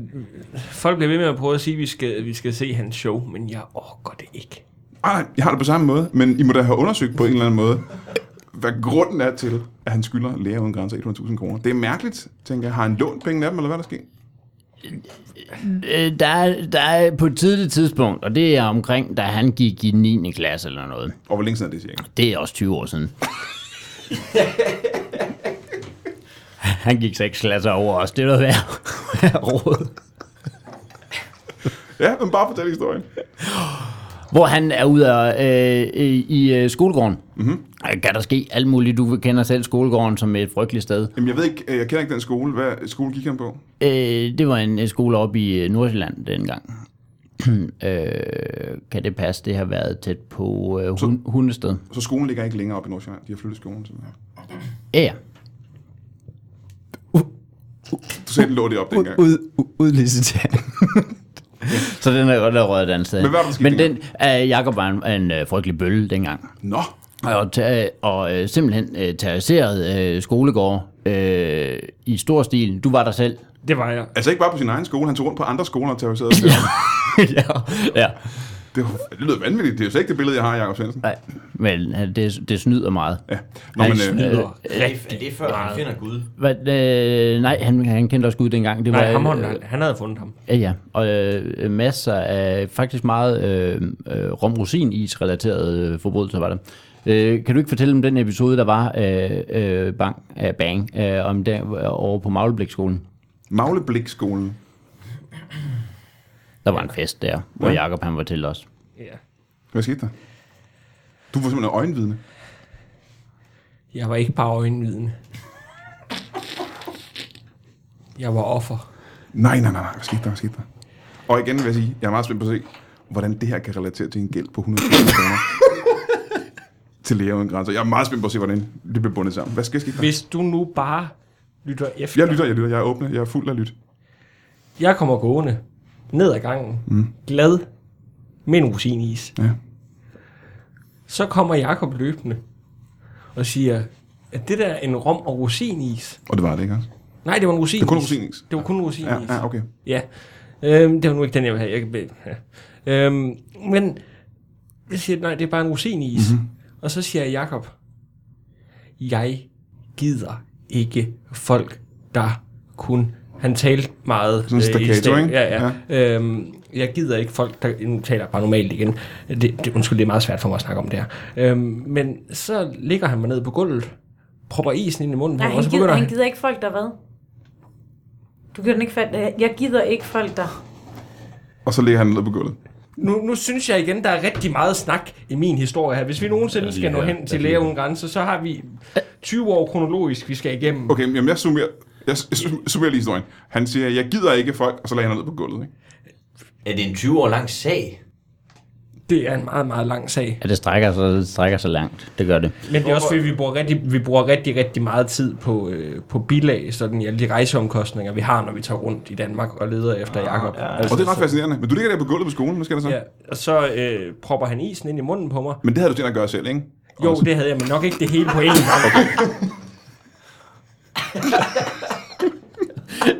Speaker 4: folk bliver ved med at prøve at sige, at vi skal, vi skal se hans show, men jeg orker det ikke.
Speaker 1: Ej, nej, Ah, jeg har det på samme måde, men I må da have undersøgt på en eller anden måde, hvad grunden er til, at han skylder læger uden grænser 100.000 kroner. Det er mærkeligt, tænker jeg. Har han lånt penge af dem, eller hvad er der sker?
Speaker 5: Øh, Der er, der er på et tidligt tidspunkt, og det er omkring, da han gik i 9. klasse eller noget.
Speaker 1: Og hvor længe siden er det, cirka?
Speaker 5: Det er også 20 år siden. han gik 6 klasser over os. Det er noget værd. råd.
Speaker 1: Ja, men bare fortæl historien.
Speaker 5: Hvor han er ude af, øh, i, i øh, skolegården. Mm-hmm. Kan der ske alt muligt? Du kender selv skolegården som et frygteligt sted.
Speaker 1: Jamen, jeg ved ikke, øh, jeg kender ikke den skole. Hvad skole gik han på?
Speaker 5: Øh, det var en øh, skole oppe i øh, Nordsjælland dengang. øh, kan det passe? Det har været tæt på øh, hun, Hundested.
Speaker 1: Så skolen ligger ikke længere op i Nordsjælland. De har flyttet skolen. Simpelthen.
Speaker 5: Ja, ja.
Speaker 1: Du sagde, den lå det op dengang.
Speaker 5: ud, ud, udlicitering. Så den er godt der røget et andet sted.
Speaker 1: Men hvad var der sket
Speaker 5: Men den, øh, Jacob var en, en øh, frygtelig bølle dengang.
Speaker 1: Nå,
Speaker 5: Og, ta- og øh, simpelthen øh, terroriserede øh, skolegård øh, i stor stil. Du var der selv.
Speaker 4: Det var jeg.
Speaker 1: altså ikke bare på sin egen skole. Han tog rundt på andre skoler og terroriserede dem.
Speaker 5: ja, ja.
Speaker 1: Det, var- det lyder vanvittigt. Det er jo slet ikke det billede, jeg har af Jacob Svendsen.
Speaker 5: Nej, men øh, det, det snyder meget.
Speaker 1: Ja. Nå, men, øh,
Speaker 4: Det var
Speaker 3: Er det, er det før, han finder Gud?
Speaker 5: Hvad, øh, nej, han, han kendte også Gud dengang. Det var,
Speaker 4: Nej, ham,
Speaker 5: øh,
Speaker 4: han, han havde fundet ham.
Speaker 5: Ja, ja. Og øh, masser af faktisk meget øh, øh, romrusin-is-relaterede øh, forbrydelser var det. Øh, kan du ikke fortælle om den episode, der var øh, øh, bang, øh, bang øh, om der, over på Magleblikskolen?
Speaker 1: Magleblikskolen.
Speaker 5: Der var en fest der, hvor Jakob han var til os.
Speaker 4: Ja.
Speaker 1: Hvad skete der? Du var simpelthen øjenvidne.
Speaker 4: Jeg var ikke bare øjenvidende. Jeg var offer.
Speaker 1: Nej, nej, nej, nej. Hvad skete der? Hvad skete der? Og igen vil jeg sige, jeg er meget spændt på at se, hvordan det her kan relatere til en gæld på 100.000 kroner til læger uden grænser. Jeg er meget spændt på at se, hvordan det bliver bundet sammen. Hvad skal ske der?
Speaker 4: Hvis du nu bare lytter efter.
Speaker 1: Jeg lytter, jeg lytter, jeg er åbne, jeg er fuld af lyt.
Speaker 4: Jeg kommer gående ned ad gangen, mm. glad med en rosinis.
Speaker 1: Ja.
Speaker 4: Så kommer Jakob løbende og siger, at det der er en rom- og rosinis.
Speaker 1: Og det var det, ikke også?
Speaker 4: Nej, det var en rosinis.
Speaker 1: Det er kun rosinis.
Speaker 4: Det var kun rosinis.
Speaker 1: Ja, ja okay.
Speaker 4: Ja. Øhm, det var nu ikke den, jeg ville have. Jeg kan be- ja. øhm, men jeg siger, nej, det er bare en rosinis.
Speaker 1: Mhm.
Speaker 4: Mm-hmm. Og så siger jeg, Jakob, jeg gider ikke folk, der kun... Han talte meget øh,
Speaker 1: Sådan
Speaker 4: i
Speaker 1: staccato,
Speaker 4: sta-
Speaker 1: ikke?
Speaker 4: Ja, ja. Øhm, jeg gider ikke folk, der... Nu taler jeg bare normalt igen. Det, det, undskyld, det er meget svært for mig at snakke om det her. Øhm, men så ligger han mig ned på gulvet, propper isen ind i munden, på
Speaker 2: Nej,
Speaker 4: mig,
Speaker 2: han
Speaker 4: og så
Speaker 2: gider,
Speaker 4: begynder
Speaker 2: han gider ikke folk, der hvad? Du kan den ikke fatte. Jeg gider ikke folk, der...
Speaker 1: Og så ligger han ned på gulvet.
Speaker 4: Nu, nu synes jeg igen, der er rigtig meget snak i min historie her. Hvis vi nogensinde skal nå
Speaker 3: her.
Speaker 4: hen til Læger Uden Grænser, så har vi 20 år kronologisk, vi skal igennem.
Speaker 1: Okay, jamen jeg summerer, jeg sum- summerer lige historien. Han siger, jeg gider ikke folk, og så lagde han ned på gulvet. Ikke?
Speaker 3: Er det en 20 år lang sag?
Speaker 4: Det er en meget, meget lang sag.
Speaker 5: Ja, det strækker sig, det strækker sig langt. Det gør det.
Speaker 4: Men det er også fordi, vi bruger rigtig, vi bruger rigtig, rigtig meget tid på, øh, på bilag, sådan i alle de rejseomkostninger, vi har, når vi tager rundt i Danmark og leder efter Jakob. Ah, Ja,
Speaker 1: Og det er ret fascinerende. Men du ligger der på gulvet på skolen, hvad skal der så?
Speaker 4: ja, og så øh, propper han isen ind i munden på mig.
Speaker 1: Men det havde du tænkt at gøre selv, ikke?
Speaker 4: Jo, det havde jeg, men nok ikke det hele på én gang.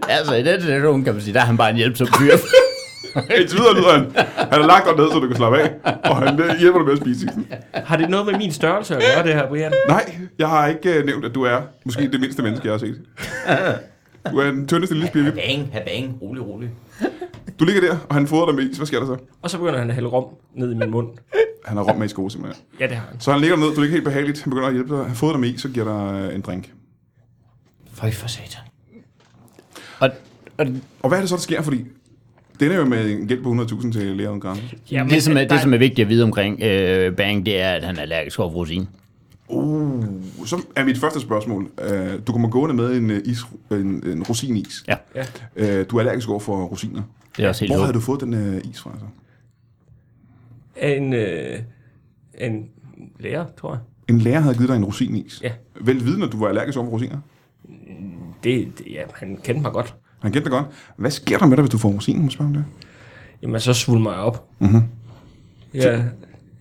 Speaker 5: Altså, i den situation kan man sige, der er han bare en hjælpsom fyr.
Speaker 1: Indtil videre lyder han. Han har lagt dig ned, så du kan slappe af, og han øh, hjælper dig med at spise isen.
Speaker 4: Har det noget med min størrelse at gøre, det her, Brian?
Speaker 1: Nej, jeg har ikke øh, nævnt, at du er måske det mindste menneske, jeg har set. Du er den tyndeste lille spirvip.
Speaker 3: Bang, ha bang, rolig, rolig.
Speaker 1: Du ligger der, og han fodrer dig med is. Hvad sker der så?
Speaker 4: Og så begynder han at hælde rom ned i min mund.
Speaker 1: Han har rom med i sko, simpelthen.
Speaker 4: Ja, det har han.
Speaker 1: Så han ligger ned, du er ikke helt behageligt. Han begynder at hjælpe dig. Han fodrer dig med is, så giver dig øh, en drink.
Speaker 3: Føj for satan.
Speaker 5: og, og
Speaker 1: Og hvad er det så, der sker? Fordi den er jo med en gæld på 100.000 til Lea uden grænser.
Speaker 5: Jamen, det, som er, det, som er vigtigt at vide omkring øh, Bang, det er, at han er allergisk over for rosin.
Speaker 1: Uh, Så er mit første spørgsmål. Øh, Du kommer gående med en, øh, is, en, en rosinis.
Speaker 5: Ja,
Speaker 1: Øh, Du er allergisk over for rosiner.
Speaker 5: det er også helt
Speaker 1: Hvor
Speaker 5: lukket.
Speaker 1: havde du fået den øh, is fra? Så?
Speaker 4: af en, øh, en lærer, tror jeg.
Speaker 1: En lærer havde givet dig en rosinis.
Speaker 4: Ja.
Speaker 1: Vel viden, at du var allergisk over for rosiner.
Speaker 4: Det, det, ja, han kendte mig godt.
Speaker 1: Han kendte dig godt. Hvad sker der med dig, hvis du får rosiner? Må jeg spørge om det?
Speaker 4: Jamen, så svulmer mig op. Mm-hmm.
Speaker 1: Mhm.
Speaker 4: Ja, jeg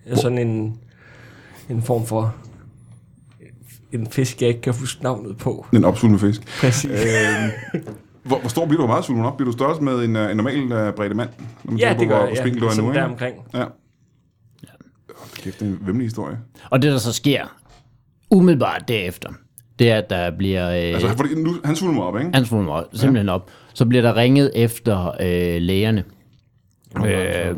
Speaker 4: er sådan en, en form for en fisk, jeg ikke kan huske navnet på. Øh,
Speaker 1: En opsvulmet fisk.
Speaker 4: Præcis.
Speaker 1: Hvor, hvor stor bliver du? Hvor meget svulmer op? Bliver du større med en, øh, en normal øh, bredde mand? Når man tænker
Speaker 4: ja,
Speaker 1: på,
Speaker 4: det gør
Speaker 1: hvor-
Speaker 4: jeg.
Speaker 1: hvor
Speaker 4: Ja,
Speaker 1: spinkel du er
Speaker 4: ligesom
Speaker 1: nu, ikke?
Speaker 4: deromkring.
Speaker 1: Ja. Hold kæft, det er en vemmelig historie.
Speaker 5: Og det, der så sker umiddelbart derefter, det er, at der bliver... Øh,
Speaker 1: Altså, fordi nu, han svulmer op, ikke?
Speaker 5: Han svulmer op, simpelthen op. Så bliver der ringet efter øh, lægerne.
Speaker 1: altså-
Speaker 5: Øh,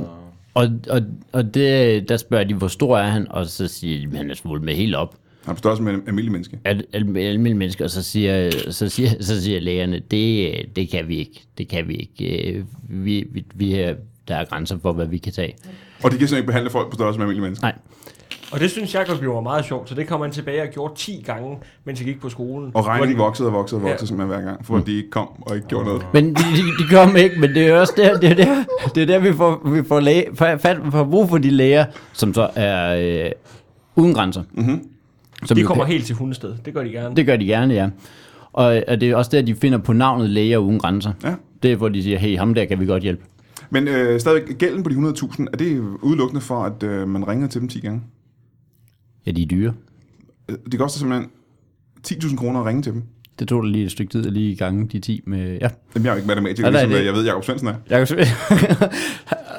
Speaker 5: og og, og det, der spørger de, hvor stor er han? Og så siger de, han er svulmet helt op.
Speaker 1: Han er på størrelse med en almindelig menneske.
Speaker 5: Al, al, almindelige mennesker, og så siger, så siger, så siger lægerne, det, øh, det kan vi ikke. Det kan vi ikke. Øh, Vi, vi, vi er, der er grænser for, hvad vi kan tage.
Speaker 1: Og de kan simpelthen ikke behandle folk på størrelse med almindelige mennesker.
Speaker 5: Nej.
Speaker 4: Og det synes Jacob jo var meget sjovt, så det kom han tilbage og gjorde 10 gange, mens jeg gik på skolen.
Speaker 1: Og regningen
Speaker 4: Hvor det-
Speaker 1: voksede og voksede og voksede
Speaker 4: Ja.
Speaker 1: simpelthen hver gang, for de ikke kom og ikke gjorde noget.
Speaker 5: Men de, de, de kom ikke, men det er også der, det er der, det er der vi får, vi får, læge, fa- fa- får brug for de læger, som så er øh, uden grænser. Mm-hmm.
Speaker 4: De kommer helt til hundested. Det gør de gerne.
Speaker 5: Det gør de gerne, ja. Og, og det er også der, de finder på navnet Læger Uden Grænser.
Speaker 1: Ja.
Speaker 5: Det er, hvor de siger, hey, ham der kan vi godt hjælpe.
Speaker 1: Men øh, stadig gælden på de 100.000, er det udelukkende for, at øh, man ringer til dem 10 gange?
Speaker 5: Ja, de er dyre.
Speaker 1: Øh, Det koster simpelthen 10.000 kroner at ringe til dem.
Speaker 5: Det tog da lige et stykke tid at lige gange de 10 med... Ja.
Speaker 1: Jamen, jeg er jo ikke matematiker,
Speaker 5: Ja, nej,
Speaker 1: ligesom
Speaker 5: det-
Speaker 1: øh, jeg ved, Jacob Svendsen er. Det
Speaker 5: Jeg kan se-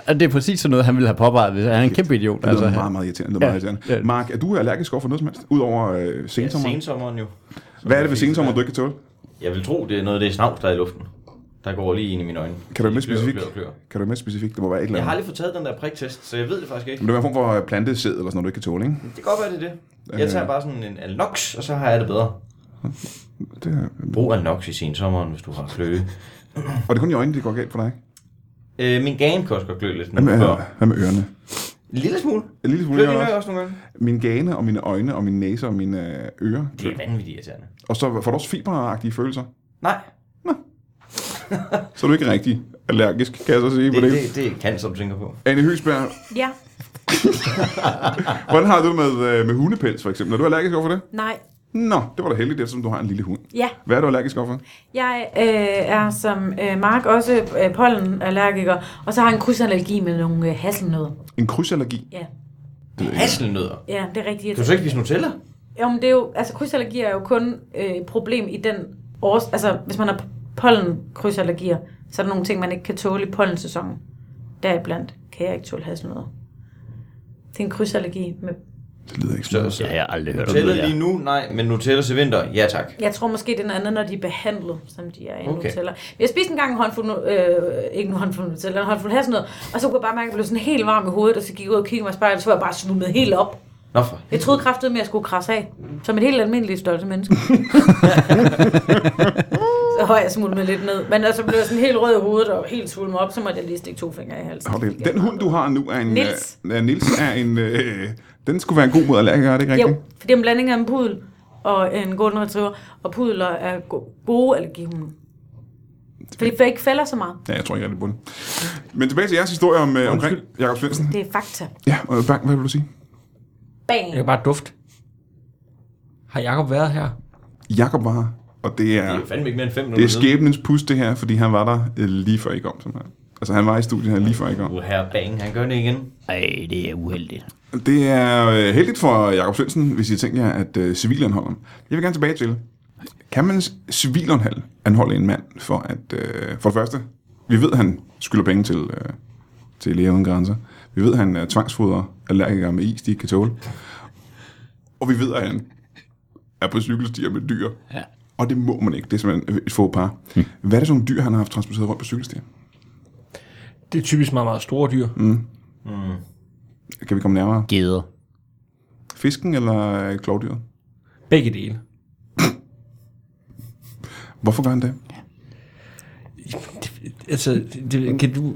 Speaker 5: Og det er præcis sådan noget, han ville have påpeget, hvis han er en kæmpe idiot.
Speaker 1: lyder altså,
Speaker 5: han-
Speaker 1: meget, meget irriterende. Det lyder meget
Speaker 5: Ja,
Speaker 1: irriterende.
Speaker 5: ja.
Speaker 1: Mark, er du allergisk over for noget som helst? Udover øh,
Speaker 3: Ja,
Speaker 1: sensommeren?
Speaker 3: sensommeren jo.
Speaker 1: Hvad er det ved sensommeren, du ikke kan tåle?
Speaker 3: Jeg vil tro, det er noget af det snavs, der er i luften. Der går lige ind i mine øjne.
Speaker 1: Kan du være mere
Speaker 3: Klør,
Speaker 1: specifik?
Speaker 3: klør, klør.
Speaker 1: Kan du være mere specifik? Det må være et eller
Speaker 3: Jeg har
Speaker 1: andet.
Speaker 3: aldrig fået taget den der priktest, så jeg ved det faktisk ikke.
Speaker 1: Men det er en form for øh, plantesæd eller sådan noget, du ikke kan tåle, ikke?
Speaker 3: Det kan godt være, det er det. Jeg tager bare sådan en Alnox, og så har jeg det bedre.
Speaker 1: Det er,
Speaker 3: Brug Alnox i sensommeren, hvis du har kløe.
Speaker 1: og det er kun i øjnene, det går galt for dig. ikke?
Speaker 3: Øh, min gane kan også godt klø lidt.
Speaker 1: Hvad med,
Speaker 3: Men,
Speaker 1: øh, hvad med ørerne?
Speaker 3: En lille smule.
Speaker 1: En lille smule
Speaker 3: Klør
Speaker 1: ørerne
Speaker 3: dine
Speaker 1: også.
Speaker 3: ører også nogle gange?
Speaker 1: Min gane og mine øjne og min næse og mine øh, ører.
Speaker 3: Det er vanvittigt irriterende.
Speaker 1: Og så får du også fiberagtige følelser.
Speaker 3: Nej,
Speaker 1: Så er du ikke rigtig allergisk, kan jeg så sige på
Speaker 3: det,
Speaker 1: det.
Speaker 3: det, det er kan, som du tænker på.
Speaker 1: Anne Høgsberg,
Speaker 2: Ja,
Speaker 1: hvordan har du det med, øh, med hundepels for eksempel? Er du allergisk over for det?
Speaker 2: nej.
Speaker 1: Nå, det var da heldigt, eftersom du har en lille hund.
Speaker 2: Ja,
Speaker 1: Hvad er du allergisk overfor?
Speaker 2: jeg øh, er som øh, Mark også øh, pollenallergiker, og så har jeg en krydsallergi med nogle øh, hasselnødder.
Speaker 1: En krydsallergi?
Speaker 2: Ja.
Speaker 1: Det ved jeg ikke.
Speaker 3: Hasselnødder.
Speaker 2: ja, det er rigtigt.
Speaker 3: Kan du så ikke spise Nutella?
Speaker 2: Jo, men det er jo, altså krydsallergier er jo kun øh, et problem i den års... Altså, hvis man har pollenkrydsallergier, så er der nogle ting, man ikke kan tåle i pollensæsonen. Deriblandt kan jeg ikke tåle hasselnødder. Det er en krydsallergi. Med,
Speaker 1: Det lyder ikke
Speaker 3: Så,
Speaker 1: sådan.
Speaker 3: så.
Speaker 5: Jeg har aldrig hørt om
Speaker 3: Nutella
Speaker 5: det der.
Speaker 3: lige nu? Nej, men Nutella til vinter? Ja tak.
Speaker 2: jeg tror måske, det er noget andet, når de er behandlet, som de er i
Speaker 3: Okay.
Speaker 2: okay. Nutella. Men Jeg spiste engang en håndfuld... nu- Øh, ikke en håndfuld Nutella, en håndfuld hasselnødder, og så kunne jeg bare mærke, at jeg blev sådan helt varm i hovedet, og så gik jeg ud og kiggede mig i spejlet, og så var jeg bare snummet helt op.
Speaker 3: Nå for.
Speaker 2: Jeg troede kraftedeme, at jeg skulle krasse af. Som et helt almindeligt stolte menneske. så høj jeg smule med lidt ned. Men altså blev jeg sådan helt rød i hovedet og helt svulmet op, så måtte jeg lige stikke to fingre i halsen.
Speaker 1: Hold da- Den hund, du har nu, er en...
Speaker 2: Nils.
Speaker 1: Øh, Nils er en... Øh, den skulle være en god mod allergikere, er det ikke rigtigt?
Speaker 2: Jo, for det er en blanding af en pudel og en golden retriever. Og pudler er go- gode allergihunde. For de ikke fælder så meget.
Speaker 1: Ja, jeg tror ikke rigtig på den. Men tilbage til jeres historie om, øh, omkring Jakob Svendsen.
Speaker 2: Det er fakta.
Speaker 1: Ja, og Bang, hvad vil du sige?
Speaker 2: Bang!
Speaker 4: Jeg kan bare dufte. Har Jakob været her?
Speaker 1: Jakob var her, og det
Speaker 3: Det
Speaker 1: er,
Speaker 3: er jo fandme ikke mere end fem
Speaker 1: det
Speaker 3: minutter.
Speaker 1: er skæbnens pust, det her, fordi han var der øh, lige før I kom. Simpelthen. Altså, han var i studiet her lige før I kom.
Speaker 3: Uh, her bang, han gør det igen.
Speaker 5: Ej, det er uheldigt.
Speaker 1: Det er øh, heldigt for Jakob Svendsen, hvis I tænker jer, at øh, civilanholderen. Jeg vil gerne tilbage til, kan man s- civilanhold anholde en mand for at, øh, for det første, vi ved, han skylder penge til, øh, til Læger Uden Grænser. Vi ved, han øh, tvangsfoder allergikere med is, de ikke kan tåle. Og vi ved, at han er på cykelstier med dyr.
Speaker 5: Ja. Hm.
Speaker 1: Og det må man ikke. Det er simpelthen et få par. Hmm. Hvad er det for nogle dyr, han har haft transporteret rundt på cykelstier?
Speaker 4: Det er typisk meget, meget store dyr. Mm.
Speaker 1: Kan vi komme nærmere?
Speaker 5: Geder.
Speaker 1: Fisken eller øh, klovdyret?
Speaker 4: Begge dele.
Speaker 1: Hvorfor gør han det?
Speaker 4: Altså, det, kan du...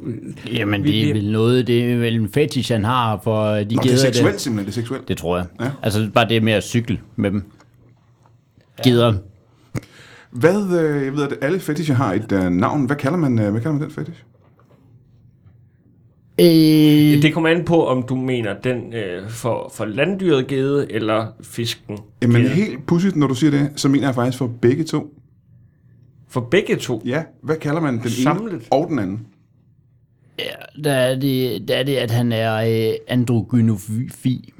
Speaker 5: Jamen,
Speaker 4: Vi-
Speaker 5: det er
Speaker 4: vi-
Speaker 5: vel noget, det er vel en fetish, han har for øh, de
Speaker 1: Nå, det er
Speaker 5: geder.
Speaker 1: seksuelt simpelthen, det er seksuelt.
Speaker 5: Det tror jeg.
Speaker 1: Ja.
Speaker 5: Ja. Altså bare det med at cykle med dem. Geder.
Speaker 1: Hvad, øh, jeg ved, at alle fetischer har et øh, navn. Hvad kalder, man, øh, hvad kalder man den fetish?
Speaker 5: Øh,
Speaker 4: Det kommer an på, om du mener den øh, for, for landdyret gede eller fisken.
Speaker 1: Jamen
Speaker 4: gede.
Speaker 1: helt pudsigt, når du siger det, så mener jeg faktisk for begge to.
Speaker 4: For begge to.
Speaker 1: Ja, hvad kalder man den ene
Speaker 4: Samlet.
Speaker 1: og den anden?
Speaker 5: ja, der, er det, der er det, at han er øh, androgynofi.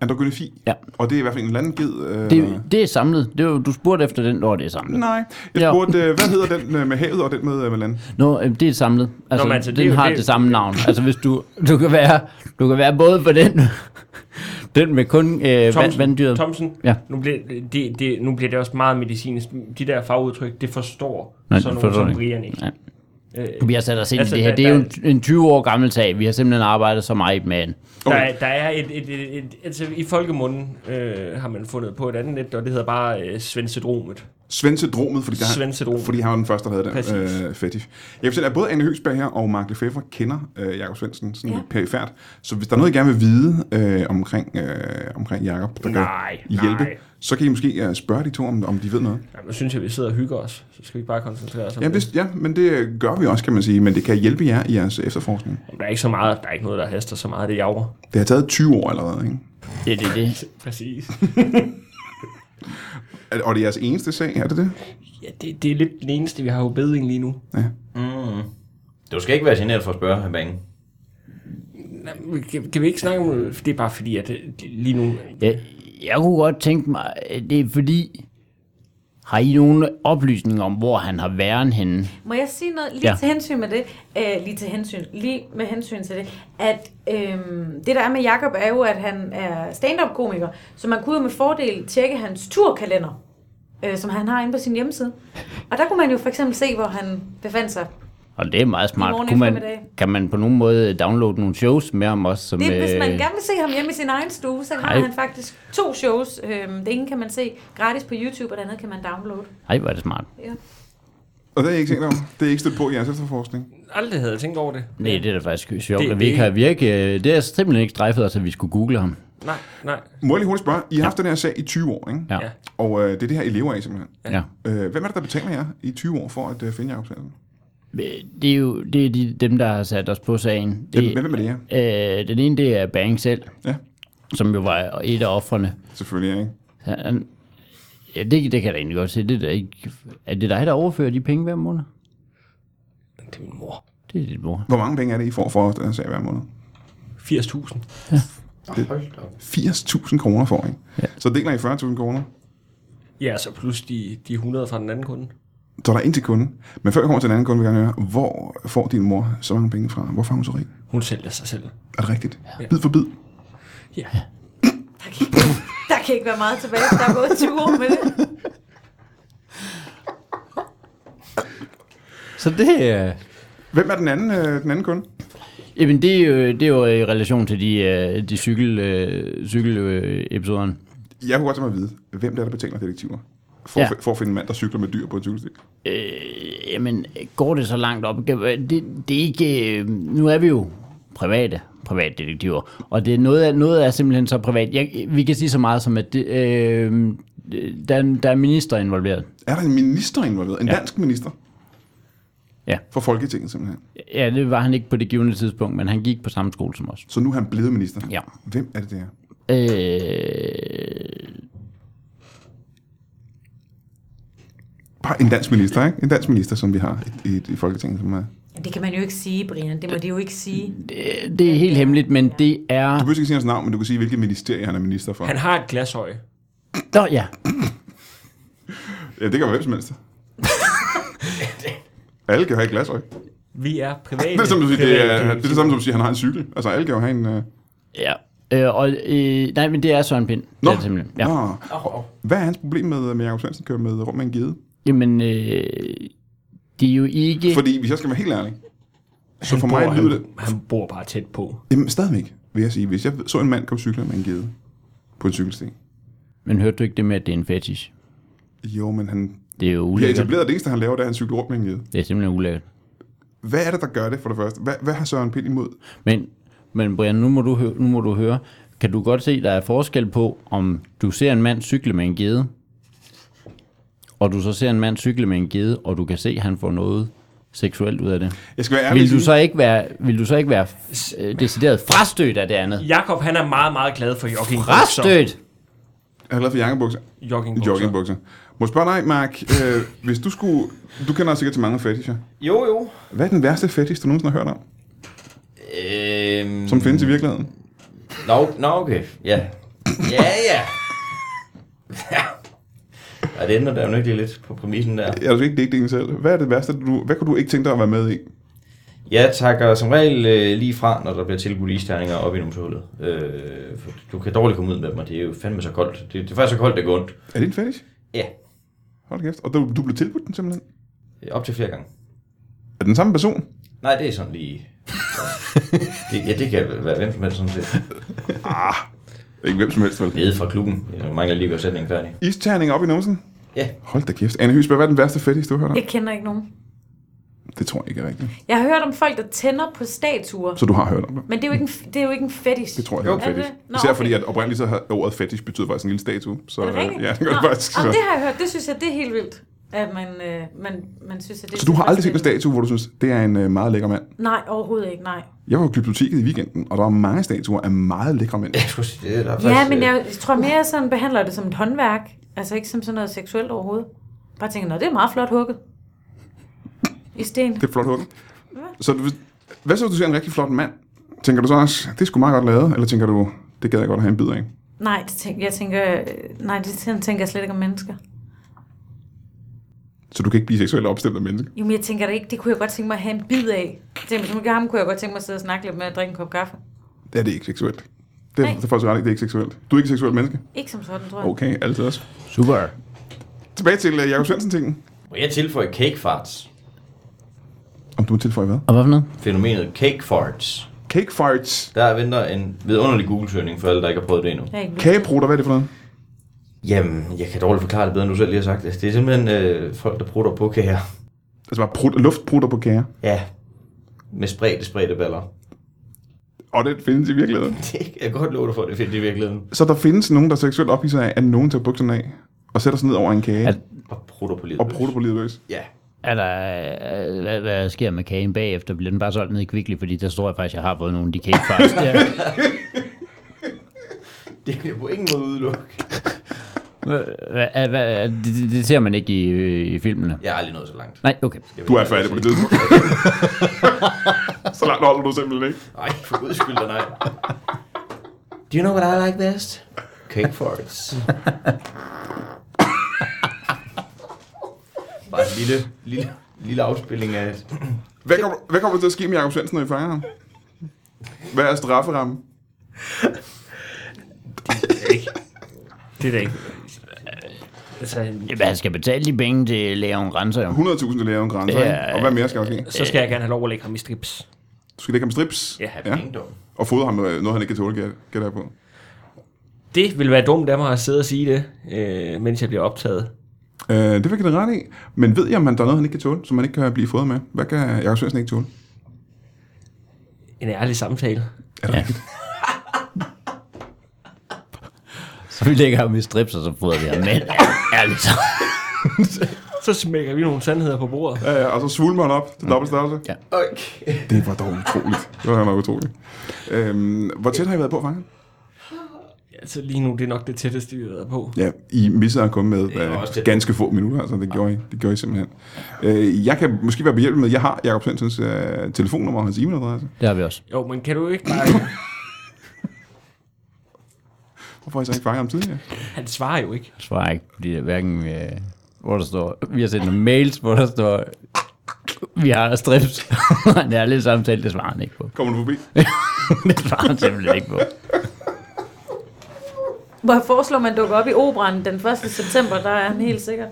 Speaker 1: Androgynofi.
Speaker 5: Ja.
Speaker 1: Og det er i hvert fald en eller anden ged. Øh, eller-
Speaker 5: Det, det er samlet. Det var, du spurgte efter den, når det er samlet.
Speaker 1: Nej, jeg
Speaker 5: Ja.
Speaker 1: spurgte, øh, hvad hedder den øh, med havet og den med, øh, med land?
Speaker 5: Nå, øh, det er samlet. Altså,
Speaker 4: Nå,
Speaker 5: Nå,
Speaker 4: men altså,
Speaker 5: altså den
Speaker 4: det er jo-
Speaker 5: har
Speaker 4: det er
Speaker 5: det,
Speaker 4: jo-
Speaker 5: det samme navn. Altså, hvis du, du, kan være, du kan være både på den, den med kun øh, vand, vanddyret.
Speaker 4: Thomsen,
Speaker 5: Ja.
Speaker 4: nu, bliver, det, det, nu bliver det også meget medicinsk. De der fagudtryk, det forstår
Speaker 5: Nej,
Speaker 4: Nej,
Speaker 5: det
Speaker 4: sådan nogen
Speaker 5: forstår
Speaker 4: som
Speaker 5: det
Speaker 4: Brian ikke.
Speaker 5: Nej.
Speaker 4: Øh,
Speaker 5: Vi har sat os ind
Speaker 4: Altså,
Speaker 5: altså, i det her.
Speaker 4: der-
Speaker 5: Det er jo
Speaker 4: der-
Speaker 5: en, en 20 år gammel sag. Vi har simpelthen arbejdet så meget med den.
Speaker 4: der,
Speaker 1: Okay.
Speaker 4: er- der er et, et, et, et, altså i folkemunden øh, har man fundet på et andet net, og det hedder bare øh, svendsedromet.
Speaker 1: Svensedromet, fordi, der,
Speaker 4: Svensedromet.
Speaker 1: fordi han var den første, der havde
Speaker 4: Præcis.
Speaker 1: den øh, fetish. Jeg vil fortælle, at både Anne Høgsberg her og Mark Lefebvre kender øh, Jakob Svendsen sådan ja.
Speaker 2: Ja.
Speaker 1: perifært. Så hvis der er noget, I gerne vil vide øh, omkring, øh, omkring Jakob, der
Speaker 4: Nej,
Speaker 1: kan hjælpe,
Speaker 4: nej.
Speaker 1: så kan I måske øh, spørge de to, om, om de ved noget.
Speaker 4: Jamen, nu synes jeg, vi sidder og hygger os. Så skal vi ikke bare koncentrere os om
Speaker 1: Ja, det, ja, men det gør vi også, kan man sige. Men det kan hjælpe jer i jeres efterforskning.
Speaker 4: Der er ikke så meget, der er ikke noget, der haster så meget, det er javre.
Speaker 1: Det har taget 20 år allerede, ikke?
Speaker 5: Det er det, det.
Speaker 4: Præcis.
Speaker 1: Er- Og det er jeres eneste sag, er det det?
Speaker 4: ja, det, det er lidt den eneste, vi har jo beding lige nu.
Speaker 3: Mm. Du skal ikke være generet for at spørge, her bang.
Speaker 4: Jamen, Kan, kan vi ikke snakke om... Det er bare fordi, at øh, det- lige nu...
Speaker 5: Jeg, jeg kunne godt tænke mig, at det er fordi... Har I nogle oplysninger om, hvor han har væren henne?
Speaker 2: Må jeg sige noget lige ja.
Speaker 5: Ja.
Speaker 2: til hensyn med det? Øh, lige til hensyn. Lige med hensyn til det. At øh, det, der er med Jakob er jo, at han er stand-up-komiker. Så man kunne jo med fordel tjekke hans turkalender, øh, som han har inde på sin hjemmeside. Og der kunne man jo for eksempel se, hvor han befandt sig.
Speaker 5: Og det er meget smart.
Speaker 2: morgen
Speaker 5: Kunne man,
Speaker 2: eftermiddag.
Speaker 5: kan man på nogen måde downloade nogle shows med ham også? Som,
Speaker 2: Det, er, hvis man
Speaker 5: øh,
Speaker 2: gerne vil se ham hjemme i sin egen stue, så har
Speaker 5: Ej.
Speaker 2: han faktisk to shows. Øh, det ene kan man se gratis på YouTube, og det andet kan man downloade.
Speaker 5: Ej, hvor er det smart.
Speaker 1: Og det har I ikke tænkt om. Det er I ikke stødt på i jeres efterforskning.
Speaker 4: Aldrig havde jeg tænkt over det.
Speaker 5: Nej, det er da faktisk sjovt,
Speaker 4: Det-
Speaker 5: det, at vi ikke
Speaker 4: det-
Speaker 5: har virke. Det er simpelthen ikke strejfet os, at vi skulle google ham.
Speaker 4: Nej, nej.
Speaker 1: Må jeg lige hurtigt spørge? I har haft den her sag i 20 år, ikke?
Speaker 5: Ja.
Speaker 4: Ja.
Speaker 5: ja.
Speaker 1: Og øh, det er det her, I lever af, simpelthen.
Speaker 5: ja.
Speaker 1: Øh, hvem er det, der betaler jer i 20 år for at øh, finde Jacob Svendsen?
Speaker 5: Øh, Det er jo det er de, dem, der har sat os på sagen. Det,
Speaker 1: Hvem, hvem er det her?
Speaker 5: øh, den ene, det er Bang selv,
Speaker 1: Ja.
Speaker 5: som jo var et af offrene.
Speaker 1: Selvfølgelig, ikke?
Speaker 5: Han, Ja, det, det kan jeg da egentlig godt se. Det er, da ikke, er det dig, der overfører de penge hver måned?
Speaker 4: Det er min mor.
Speaker 5: Det er dit mor.
Speaker 1: Hvor mange penge er det, I får for den her sag hver måned?
Speaker 4: 80.000.
Speaker 1: 80.000 kroner får I. Ja. Så deler I 40.000 kroner.
Speaker 4: Ja, så plus de, de 100 fra den anden kunde.
Speaker 1: Så er der en til kunden. Men før vi kommer til den anden kunde, vil jeg gerne høre, hvor får din mor så mange penge fra? Hvorfor er hun så rig?
Speaker 4: Hun sælger sig selv.
Speaker 1: Er det rigtigt? Ja. Bid for bid.
Speaker 4: Ja.
Speaker 2: Der kan, ikke- der kan ikke være meget tilbage, der er gået 20 år med det.
Speaker 5: Så det er...
Speaker 1: Hvem er den anden, øh, den anden kunde?
Speaker 5: Jamen, det er, jo, det er jo i relation til de, øh, de cykel, øh, cykel øh, episoderne.
Speaker 1: Jeg kunne godt tænke mig at vide, hvem det er, der betaler detektiver? For, ja.
Speaker 5: Ja.
Speaker 1: for at finde en mand, der cykler med dyr på en cykelstik.
Speaker 5: Øh, jamen, går det så langt op? Kan- Det, det er ikke... øh, Nu er vi jo private privatdetektiver, og det er noget, af, noget er simpelthen så privat. Jeg, vi kan sige så meget som, at det, øh, der, er en- der er minister involveret.
Speaker 1: Er der en minister involveret? En ja. dansk minister?
Speaker 5: Ja.
Speaker 1: For Folketinget simpelthen.
Speaker 5: Ja, det var han ikke på det givende tidspunkt, men han gik på samme skole som os.
Speaker 1: Så nu er han blevet minister.
Speaker 5: Ja.
Speaker 1: Hvem er det, det er?
Speaker 5: Øh,
Speaker 1: Bare en dansk minister, ikke? En dansk minister, som vi har i, i, i Folketinget. Som er. Du
Speaker 2: Det kan man jo ikke sige, Brian. Det må de jo ikke sige.
Speaker 5: det, det er helt hemmeligt, men det er...
Speaker 1: behøver ikke sige hans navn, men du kan sige, hvilket ministerie han er minister for.
Speaker 4: Han har et glasøje.
Speaker 5: Nå, ja.
Speaker 1: Ja, det kan være hvem som helst. alle kan jo have et glasøje. Det
Speaker 4: Vi er private.
Speaker 1: er, som, du siger, det, er,
Speaker 4: private-
Speaker 1: det, er det samme, som at sige, at han har en cykel. Altså, alle kan jo have en... Uh...
Speaker 5: ja. Øh, og, øh, nej, men det er Søren Pind.
Speaker 1: Nå.
Speaker 5: Det er det simpelthen. Ja.
Speaker 1: Nå. Hvad er hans problem med, med Jacob Svendsen kører med rundt med en gede?
Speaker 5: Jamen, øh, det er jo ikke...
Speaker 1: Fordi hvis jeg skal være helt ærlig, så for mig
Speaker 4: bor,
Speaker 1: lyder det...
Speaker 4: han, han bor bare tæt på.
Speaker 1: Jamen, stadigvæk, vil jeg sige. Hvis jeg så en mand komme cykler med en gede på en cykelsti.
Speaker 5: Men hørte du ikke det med, at det er en fetish?
Speaker 1: Jo, men han
Speaker 5: Det er
Speaker 1: bliver
Speaker 5: jo ulækkert.
Speaker 1: etableret det eneste, han laver, det er, at han cykler rundt med en gede.
Speaker 5: Det er simpelthen ulækkert.
Speaker 1: Hvad er det, der gør det for det første? Hvad, hvad har Søren Pind imod?
Speaker 5: Men, men Brian, nu må, du høre, nu må du høre. Kan du godt se, der er forskel på, om du ser en mand cykle med en gede, og du så ser en mand cykle med en gede, og du kan se, at han får noget seksuelt ud af det.
Speaker 1: Jeg skal være ærlig.
Speaker 5: Vil du
Speaker 1: og sige-
Speaker 5: så ikke være, vil du så ikke være øh, decideret frastødt af det andet?
Speaker 4: Jakob, han er meget, meget glad for joggingbukser.
Speaker 5: Frastødt!
Speaker 1: Jeg er glad for jakkebukser.
Speaker 4: Joggingbukser.
Speaker 1: Joggingbukser. Må jeg spørge dig, Mark, øh, hvis du skulle... Du kender sikkert til mange fetisher.
Speaker 3: Jo, jo.
Speaker 1: Hvad er den værste fetish, du nogensinde har hørt om,
Speaker 3: Øhm,
Speaker 1: som findes i
Speaker 5: Mm.
Speaker 1: virkeligheden?
Speaker 3: Nå, no, no, okay. Ja. Ja, ja. ja. Og det ændrer der jo ikke lidt på præmissen der.
Speaker 1: Jeg er ikke digte en selv. Hvad er det værste, du, hvad kunne du ikke tænke dig at være med i?
Speaker 3: Jeg takker som regel øh, lige fra, når der bliver tilbudt isterninger op i numsehullet. Øh, for du kan dårligt komme ud med dem, og det er jo fandme så koldt. Det, det er faktisk så koldt, det går ondt.
Speaker 1: Er det en fetish?
Speaker 3: Ja,
Speaker 1: Hold da kæft. Og du, du blev tilbudt den simpelthen?
Speaker 3: op til flere gange.
Speaker 1: Er den samme person?
Speaker 3: Nej, det er sådan lige... det, ja, det kan være hvem som helst sådan set.
Speaker 1: Ikke hvem som helst, vel?
Speaker 3: Nede fra klubben. Jeg mangler lige at gøre sætningen færdig.
Speaker 1: Isterning op i numsen?
Speaker 3: Ja.
Speaker 1: Hold da kæft. Anne Hysberg, hvad er den værste fetish, du har hørt om?
Speaker 2: Jeg kender ikke nogen.
Speaker 1: Det tror jeg ikke er rigtigt.
Speaker 2: Jeg har hørt om folk, der tænder på statuer.
Speaker 1: Så du har hørt om det?
Speaker 2: Men det er jo ikke en, det er jo ikke en fetish.
Speaker 1: Det tror jeg er en
Speaker 2: Er det-
Speaker 1: fetish.
Speaker 2: Nå,
Speaker 1: Især
Speaker 2: okay.
Speaker 1: fordi, at oprindeligt så har ordet fetish betyder faktisk en lille statue. Så,
Speaker 2: Er det
Speaker 1: øh,
Speaker 2: rigtigt?
Speaker 1: ja, det gør det
Speaker 2: Nå,
Speaker 1: faktisk.
Speaker 2: Jamen,
Speaker 1: Så.
Speaker 2: det har jeg hørt. Det synes jeg, det er helt vildt. At man, øh, man, man synes, at det er
Speaker 1: så du har aldrig set en
Speaker 2: tilfredsstillende.
Speaker 1: statue, hvor du synes, det er en øh, meget lækker mand?
Speaker 2: Nej, overhovedet ikke, nej.
Speaker 1: Jeg var jo i biblioteket i weekenden, og der var mange statuer af meget lækre mænd.
Speaker 3: Jeg skulle sige, det er der faktisk...
Speaker 2: Ja, men
Speaker 3: øh,
Speaker 2: jeg tror
Speaker 1: Uh.
Speaker 2: mere, jeg sådan behandler det som et håndværk. Altså ikke som sådan noget seksuelt overhovedet. Bare tænker, nå, det er meget flot hugget. I sten.
Speaker 1: Det er flot hugget. Så du, hvad så, hvis du ser en rigtig flot mand? Tænker du så også, det skulle meget godt lavet? Eller tænker du, det gad jeg godt at have en bid af?
Speaker 2: Nej, det tænker, jeg tænker, øh, nej, det sådan tænker jeg slet ikke om mennesker.
Speaker 1: Så du kan ikke blive seksuelt opstemt af mennesker?
Speaker 2: Jamen, jeg tænker det ikke. Det kunne jeg godt tænke mig at have en bid af. Jeg tænker, Hvis man gør ham, kunne jeg godt tænke mig at sidde og snakke lidt med og drikke en kop kaffe.
Speaker 1: Det er det ikke seksuelt. Det er,
Speaker 2: Nej.
Speaker 1: det er faktisk ret, ikke, det er ikke seksuelt. Du er ikke et seksuelt menneske?
Speaker 2: Ikke som sådan, tror jeg.
Speaker 1: Okay, altid også.
Speaker 5: Super.
Speaker 1: Tilbage til uh, Jakob Svendsen-tingen.
Speaker 3: Må jeg tilføje cake farts?
Speaker 1: Om du må tilføje hvad?
Speaker 5: Og hvad for noget?
Speaker 3: Fænomenet cake farts.
Speaker 1: Cake farts.
Speaker 3: Der venter en vidunderlig Google-søgning for alle, der ikke har prøvet det endnu.
Speaker 2: Jeg er ikke lyst.
Speaker 1: Kageprutter, hvad er det for noget?
Speaker 3: Jamen, jeg kan dårligt forklare det bedre, end du selv lige har sagt det. Det er simpelthen øh, folk, der prutter på kager.
Speaker 1: Altså bare prut, luftprutter på kager.
Speaker 3: Ja. Med spredte, spredte baller.
Speaker 1: Og det findes i virkeligheden.
Speaker 3: Det kan jeg godt love dig for, det findes i virkeligheden.
Speaker 1: Så der findes nogen, der er seksuelt ophidser af, at nogen tager bukserne af og sætter sig ned over en kage
Speaker 5: At-
Speaker 3: Og prutter på livet.
Speaker 1: og prutter på livet løs.
Speaker 3: Ja.
Speaker 5: Er der, øh, hvad, hvad sker med kagen bagefter? Bliver den bare solgt ned i Kvickly? Fordi der tror jeg faktisk, jeg har fået nogle af de kage først. ja.
Speaker 3: Det kan jeg på ingen måde udelukke.
Speaker 5: Hvad- hvad- Det, det- det ser man ikke i, øh, i filmene.
Speaker 3: Jeg er aldrig nået så langt.
Speaker 5: Nej, okay.
Speaker 1: Du er færdig på det tidspunkt. så langt holder du simpelthen ikke.
Speaker 3: Nej, for guds skyld, nej. Do you know what I like best? Cake farts. Bare en lille, lille, lille afspilling af...
Speaker 1: Hvad kommer, hvad kommer der til at ske med Jacob Svendsen, når I fanger ham? Hvad er strafferammen?
Speaker 4: Det er da ikke... Altså,
Speaker 5: Jamen, han skal betale de penge til Leon Renser, jo.
Speaker 1: 100.000 lærer en grænse,
Speaker 5: Ja,
Speaker 1: ikke? Og hvad mere skal der ske?
Speaker 4: så skal jeg gerne have lov at lægge ham i strips.
Speaker 1: Du skal lægge ham i strips
Speaker 4: Ja.
Speaker 1: Ja. og fodre ham med noget, han ikke kan tåle, gætter jeg på.
Speaker 4: Det ville være dumt af mig at sidde og sige det, øh, mens jeg bliver optaget.
Speaker 1: Øh, det fik jeg da ret i. Men ved I, om han- der er noget, han ikke kan tåle, som man ikke kan blive fodret med? Hvad kan Jacob Svendsen ikke tåle?
Speaker 4: En ærlig samtale.
Speaker 5: Så vi lægger ham i strips, og så fodrer vi ham med. Ærligt så.
Speaker 4: Så smækker vi nogle sandheder på bordet.
Speaker 1: Ja, ja, og så Altså, svulmer han op til dobbelt størrelse.
Speaker 5: Ja.
Speaker 3: Okay.
Speaker 1: Det var dog utroligt. Det var nok utroligt. Øhm, hvor tæt har I været på at fange ham?
Speaker 4: Altså lige nu, det er nok det tætteste, vi har været på.
Speaker 1: Ja, I missede at komme med
Speaker 3: er også
Speaker 1: øh,
Speaker 3: det.
Speaker 1: ganske få minutter, altså det gjorde I, det gjorde I simpelthen. Øh, jeg kan måske være behjælpelig med, jeg har Jakob Svensens øh, telefonnummer og hans e-mailadresse.
Speaker 5: Det har vi også.
Speaker 4: Jo, men kan du ikke bare...
Speaker 1: Hvorfor har I så ikke fanget ham tidligere?
Speaker 4: Han svarer jo ikke.
Speaker 5: Jeg svarer ikke, fordi det er hverken... Øh, hvor der står... Vi har sendt nogle mails, hvor der står... Vi har strips. en ærlig samtale, det svarer han ikke på.
Speaker 1: Kommer du forbi?
Speaker 5: det svarer han simpelthen ikke på.
Speaker 2: Hvor jeg foreslår, man dukker op i operan den 1. september, der er han helt sikkert.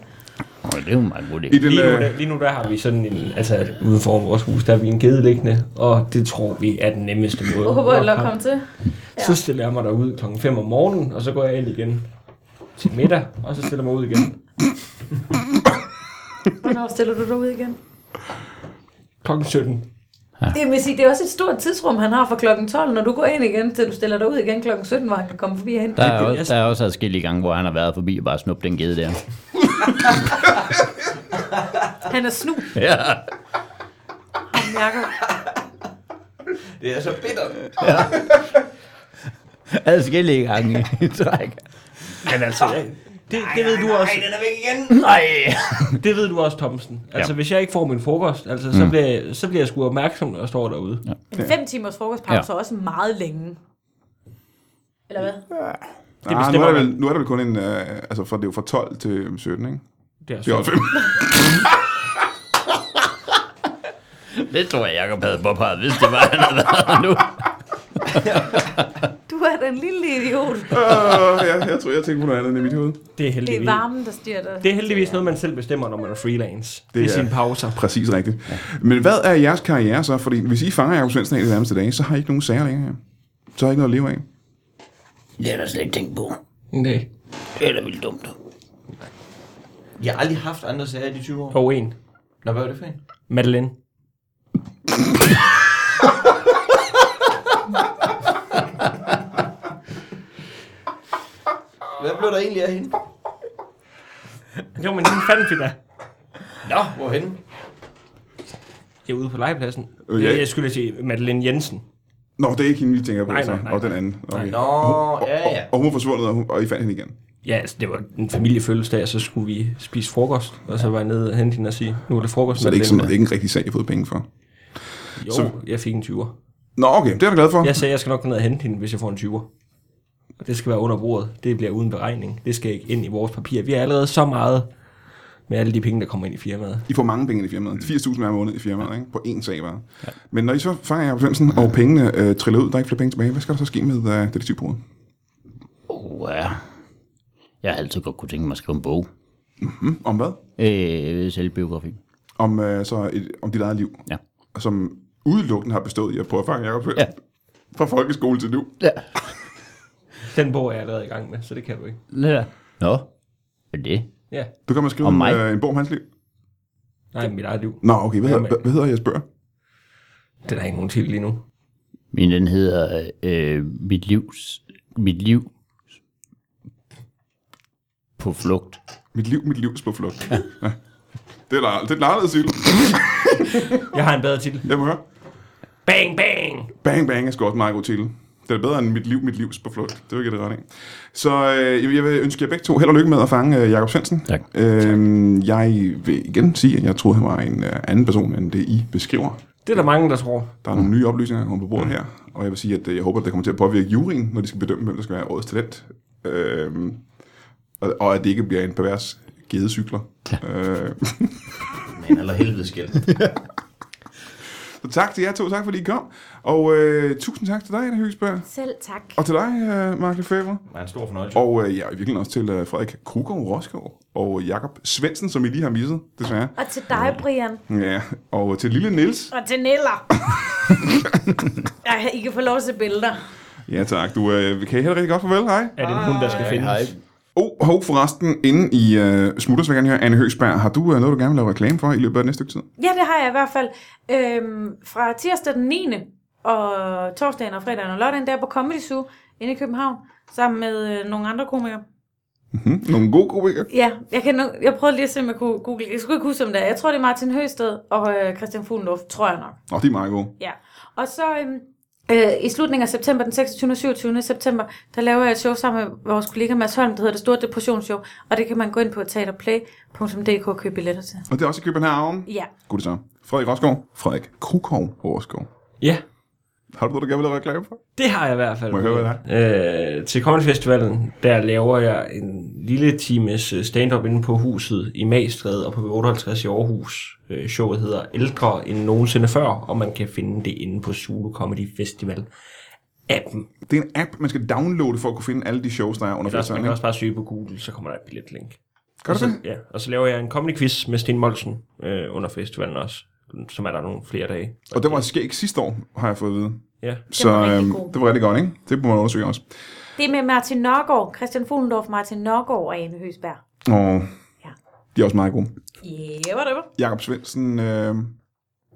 Speaker 5: Og det er jo en meget god idé.
Speaker 1: I den,
Speaker 4: Lige nu,
Speaker 1: øh,
Speaker 4: der, lige nu der har vi sådan en, altså ude foran vores hus, der har vi en gede liggende, og det tror vi er den nemmeste måde.
Speaker 2: Jeg håber, jeg lader komme til.
Speaker 4: Så stiller jeg mig derud klokken 5 om morgenen, og så går jeg ind igen til middag, og så stiller jeg mig ud igen.
Speaker 2: Hvornår stiller du dig ud igen?
Speaker 4: Klokken 17.
Speaker 2: Det, vil sige, det er også et stort tidsrum, han har fra klokken 12, når du går ind igen, til du stiller dig ud igen klokken 17, hvor han kan komme forbi og hente.
Speaker 5: Der
Speaker 2: dig.
Speaker 5: er, også, der er også adskillige gange, hvor han har været forbi og bare snuppet den gede der.
Speaker 2: Han er snu,
Speaker 5: Ja.
Speaker 2: han mærker.
Speaker 3: Det er så bittert.
Speaker 5: Adskillige gange i træk.
Speaker 4: Men altså, jeg, det, det ved du også.
Speaker 3: den er væk igen.
Speaker 5: Nej.
Speaker 4: Det ved du også, Thomsen. Altså, ja. hvis jeg ikke får min frokost, altså, så, bliver, jeg- så bliver jeg sgu opmærksom, når jeg står derude. Ja.
Speaker 2: En fem timers frokostpause er også meget længe. Eller hvad?
Speaker 1: det ah, nu,
Speaker 4: bestemmer
Speaker 1: er der vel, nu er der vel kun en, øh, altså for, det er jo fra 12 til 17, ikke?
Speaker 4: Det er altså-
Speaker 1: Det er også
Speaker 4: så.
Speaker 1: 5.
Speaker 5: Det tror jeg, Jacob havde påpeget, hvis det var, han havde været her nu.
Speaker 2: Du er den lille idiot.
Speaker 1: øh, ja, jeg tror, jeg tænkte på noget andet end i mit hoved.
Speaker 4: Det er
Speaker 2: Det er
Speaker 4: heldigvis,
Speaker 2: varmen, der styrer dig.
Speaker 4: det er heldigvis noget, man selv bestemmer, når man er freelance. Det,
Speaker 1: Det
Speaker 4: det er
Speaker 1: er-
Speaker 4: sine pauser.
Speaker 1: Præcis rigtigt. Men hvad er jeres karriere så? Fordi hvis I fanger Jacob Svendsen af de nærmeste dage, så har I ikke nogen sager længere. Så har I ikke noget at leve af.
Speaker 5: Det har jeg slet ikke tænkt på.
Speaker 4: Nej.
Speaker 5: Det er da vildt dumt.
Speaker 3: Jeg har aldrig haft andre sager i de 20 år.
Speaker 4: Og en.
Speaker 3: Nå, hvad var det for en?
Speaker 4: Madeline.
Speaker 3: Hvad blev der egentlig af hende?
Speaker 4: Jo, men den fandt vi da.
Speaker 3: Nå, hvorhenne?
Speaker 4: Det er ude på legepladsen.
Speaker 1: Øh,
Speaker 4: Øh,
Speaker 1: ja.
Speaker 4: ja. Jeg skulle sige Madeline Jensen.
Speaker 1: Nå, det er ikke hende, vi tænker på,
Speaker 4: Nej,
Speaker 1: så.
Speaker 4: nej, nej,
Speaker 1: og den anden. Okay.
Speaker 3: Nå, ja, ja.
Speaker 1: Og hun var forsvundet, og, hun, og I fandt hende igen.
Speaker 4: Ja, altså, det var en familiefødselsdag, og så skulle vi spise frokost. Og så var jeg nede og hente hende og sige, nu er det frokost.
Speaker 1: Så det er ikke, sådan, det er
Speaker 4: Madeleine.
Speaker 1: ikke en rigtig sag, jeg har fået penge for.
Speaker 4: Jo,
Speaker 1: så-
Speaker 4: jeg fik en 20'er.
Speaker 1: Nå, okay, det er jeg da glad for.
Speaker 4: Jeg sagde, jeg skal nok gå ned og hente hende, hvis jeg får en 20'er. Og det skal være under bordet. Det bliver uden beregning. Det skal ikke ind i vores papir. Vi er allerede så meget med alle de penge, der kommer ind i firmaet.
Speaker 1: I får mange penge ind i firmaet. 80.000 hver måned i firmaet, ikke? På én sag bare. Ja. Men når I så fanger Jacob Svendsen, og pengene øh, triller ud, der er ikke flere penge tilbage, hvad skal der så ske med øh, detektivbordet?
Speaker 5: Oh, ja. Jeg har altid godt kunne tænke mig at skrive en bog.
Speaker 1: Om hvad?
Speaker 5: Øh, selvbiografi.
Speaker 1: Om, øh, så et, om dit eget liv.
Speaker 5: Ja.
Speaker 1: Som udelukkende har bestået i at prøve at fange Jacob Svendsen. Ja. Fra folkeskole til nu.
Speaker 5: Ja.
Speaker 4: Den bog er jeg allerede i gang med, så det kan du ikke.
Speaker 5: Lad Nå. Hvad er det?
Speaker 4: Ja,
Speaker 1: Du kan man skrive
Speaker 5: Om
Speaker 1: en,
Speaker 5: mig?
Speaker 1: øh, en bog om hans liv.
Speaker 4: nej, mit eget liv.
Speaker 1: Nå, okay, hvad, hedder,
Speaker 4: Jamen.
Speaker 1: hvad, hvad hedder jeres bøger?
Speaker 4: Den er ikke nogen til lige nu.
Speaker 5: Min den hedder øh, Mit livs... Mit liv på flugt.
Speaker 1: Mit liv, mit livs på flugt. Ja. Det er der, det er den anderledes titel.
Speaker 4: Jeg har en bedre titel.
Speaker 1: Jeg må høre.
Speaker 4: Bang, bang!
Speaker 1: Bang Bang er sgu også en meget god titel. Det er da bedre end mit liv, mit livs på flugt. Det vil jeg give det ret i. Så øh, jamen, jeg vil ønske jer begge to held og lykke med at fange øh, Jakob Svendsen.
Speaker 5: Tak.
Speaker 1: Øhm, jeg vil igen sige, at jeg troede, han var en øh, anden person, end det I beskriver.
Speaker 4: Det er der mange, der tror.
Speaker 1: Der er nogle nye oplysninger, der kommer på bordet her, og jeg vil sige, at øh, jeg håber, at det kommer til at påvirke juryen, når de skal bedømme, hvem der skal være årets talent. Øhm, og, og at det ikke bliver en pervers gedecykler. Øh,
Speaker 3: Men eller helvede skæld.
Speaker 1: så tak til jer to, tak fordi I kom. Og øh, tusind tak til dig, Anna Høgsberg.
Speaker 2: Selv tak.
Speaker 1: Og til dig, øh, Mark Lefebvre.
Speaker 3: Det er en stor fornøjelse.
Speaker 1: Og øh, ja, i virkeligheden også til øh, Frederik Krugov Roskov og Jakob Svendsen, som I lige har misset, desværre.
Speaker 2: Og til dig, Brian.
Speaker 1: Ja, og til lille Nils.
Speaker 2: Og til Neller. Ej, I kan få lov til billeder.
Speaker 1: Ja tak, du øh, kan I have det rigtig godt. Farvel, hej.
Speaker 4: Er det en hund, der skal findes?
Speaker 5: Hej.
Speaker 1: Og oh, hov, forresten, inden i øh, smutter, så vil jeg gerne høre, Anne Høgsberg, har du øh, noget, du gerne vil lave reklame for i løbet af det næste stykke tid?
Speaker 2: Ja, det har jeg i hvert fald. Øhm, fra tirsdag den 9. og torsdagen og fredagen og lørdagen, der er på Comedy Zoo inde i København, sammen med øh, nogle andre komikere.
Speaker 1: Hm? Nogle gode komikere?
Speaker 2: Ja, jeg, kan, nu- jeg prøvede lige at se, om jeg kunne google. Jeg skulle ikke huske, om det er. Jeg tror, det er Martin Høsted og øh, Christian Fuglendorf, tror jeg nok.
Speaker 1: Nå, de er meget gode.
Speaker 2: Ja, og så øhm, øh, i slutningen af september, den 26. og 27. september, der laver jeg et show sammen med vores kollega Mads Holm, der hedder Det Store Depressionsshow, og det kan man gå ind på teaterplay.dk og købe billetter til.
Speaker 1: Og det er også i København.
Speaker 2: Ja,
Speaker 1: Godt så. Frederik Roskov. Frederik Krugov Roskov.
Speaker 4: Ja,
Speaker 1: Har du noget, du gerne vil lave reklame for?
Speaker 4: det har jeg i hvert fald.
Speaker 1: Må jeg høre, hvad det
Speaker 4: Øh, til Comedy Festivalen, der laver jeg en lille times øh, stand-up inde på huset i Magstræde og på 58 i Aarhus. Øh, showet hedder Ældre end nogensinde før, og man kan finde det inde på Zulu Comedy Festival appen.
Speaker 1: Det er en app, man skal downloade for at kunne finde alle de shows, der er under
Speaker 4: Ellers man
Speaker 1: festivalen.
Speaker 4: kan Altså,
Speaker 1: ikke?
Speaker 4: også bare søge på Google, så kommer der et billetlink.
Speaker 1: Gør
Speaker 4: Og
Speaker 1: du
Speaker 4: så,
Speaker 1: det?
Speaker 4: Ja, og så laver jeg en comedy quiz med Sten Molsen øh, under festivalen også, som er der nogle flere dage.
Speaker 1: Og det var skæg sidste år, har jeg fået at vide.
Speaker 4: Ja.
Speaker 1: Så
Speaker 2: rigtig
Speaker 1: øhm,
Speaker 2: god.
Speaker 1: det var rigtig godt, ikke? Det må man undersøge også.
Speaker 2: det er med Martin Nørgaard, Christian Fuglendorf, Martin Nørgaard og Ane Høsberg.
Speaker 1: Og
Speaker 2: Ja.
Speaker 1: de er også meget gode.
Speaker 2: Ja, yeah, whatever.
Speaker 1: Jakob Svendsen, øh,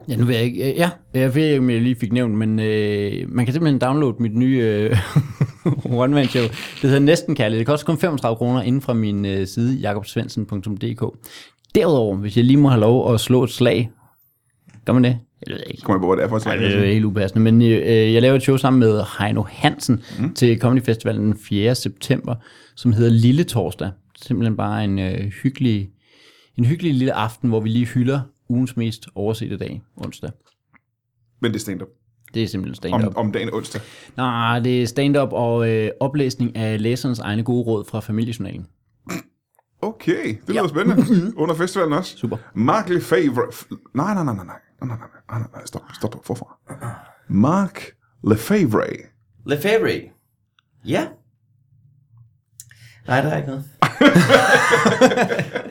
Speaker 5: Ja, nu ved jeg ikke. øh, Ja, jeg ved ikke, om jeg lige fik nævnt, men øh, man kan simpelthen downloade mit nye øh, one-man-show. Det hedder Næsten Kærlighed. Det koster kun 35 kroner inden fra min øh, side, jakobsvendsen.dk. Derudover, hvis jeg lige må have lov at slå et slag, gør man det? Jeg ved ikke.
Speaker 1: kommer jeg på, hvad det er for et
Speaker 5: Nej,
Speaker 1: slag?
Speaker 5: det er jo helt upassende, men øh, jeg laver et show sammen med Heino Hansen mm. til Comedy Festivalen den 4. september, som hedder Lille Torsdag. Simpelthen bare en øh, hyggelig en hyggelig lille aften, hvor vi lige hylder ugens mest oversete dag, onsdag.
Speaker 1: Men det er stand-up.
Speaker 5: Det er simpelthen
Speaker 1: Om,
Speaker 5: stand-up.
Speaker 1: om dagen onsdag.
Speaker 5: Nej, det er stand-up og øh, oplæsning af læserens egne gode råd fra familiejournalen.
Speaker 1: Okay, det lyder spændende. Under festivalen også.
Speaker 5: Super.
Speaker 1: Mark Lefebvre... f- Nej, nej, nej, nej, nej. Nej, nej, nej, nej, nej, nej. Stop, stop, forfra. Mark Lefebvre.
Speaker 3: Lefebvre. Ja. Nej, der er ikke noget.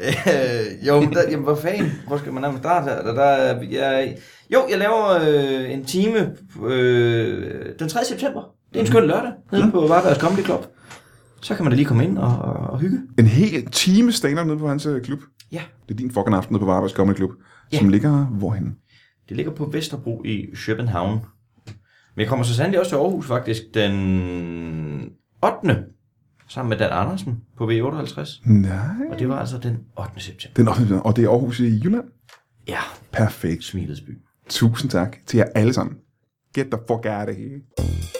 Speaker 3: øh, jo, men der, jamen, hvor fanden? Hvor skal man nærmest starte her? Der, der, er- jeg, jo, jeg laver øh, en time øh, den 3. september. Det er en skøn lørdag,
Speaker 1: Mm.
Speaker 3: nede på Varbergs Comedy Club. Så kan man da lige komme ind og, og, og hygge.
Speaker 1: En hel time stand-up nede på hans øh, klub.
Speaker 3: Ja.
Speaker 1: Det er din fucking aften nede på Varbergs Comedy Klub,
Speaker 3: Ja.
Speaker 1: som ligger hvorhen?
Speaker 3: Det ligger på Vesterbro i København. Men jeg kommer så sandelig også til Aarhus faktisk den 8. sammen med Dan Andersen på V58.
Speaker 1: Nej.
Speaker 3: Og det var altså den 8. september.
Speaker 1: Den offentlige, og det er Aarhus i Jylland.
Speaker 3: Ja,
Speaker 1: Perfekt.
Speaker 3: Smilets by.
Speaker 1: Tusind tak til jer alle sammen. Get the fuck out of here.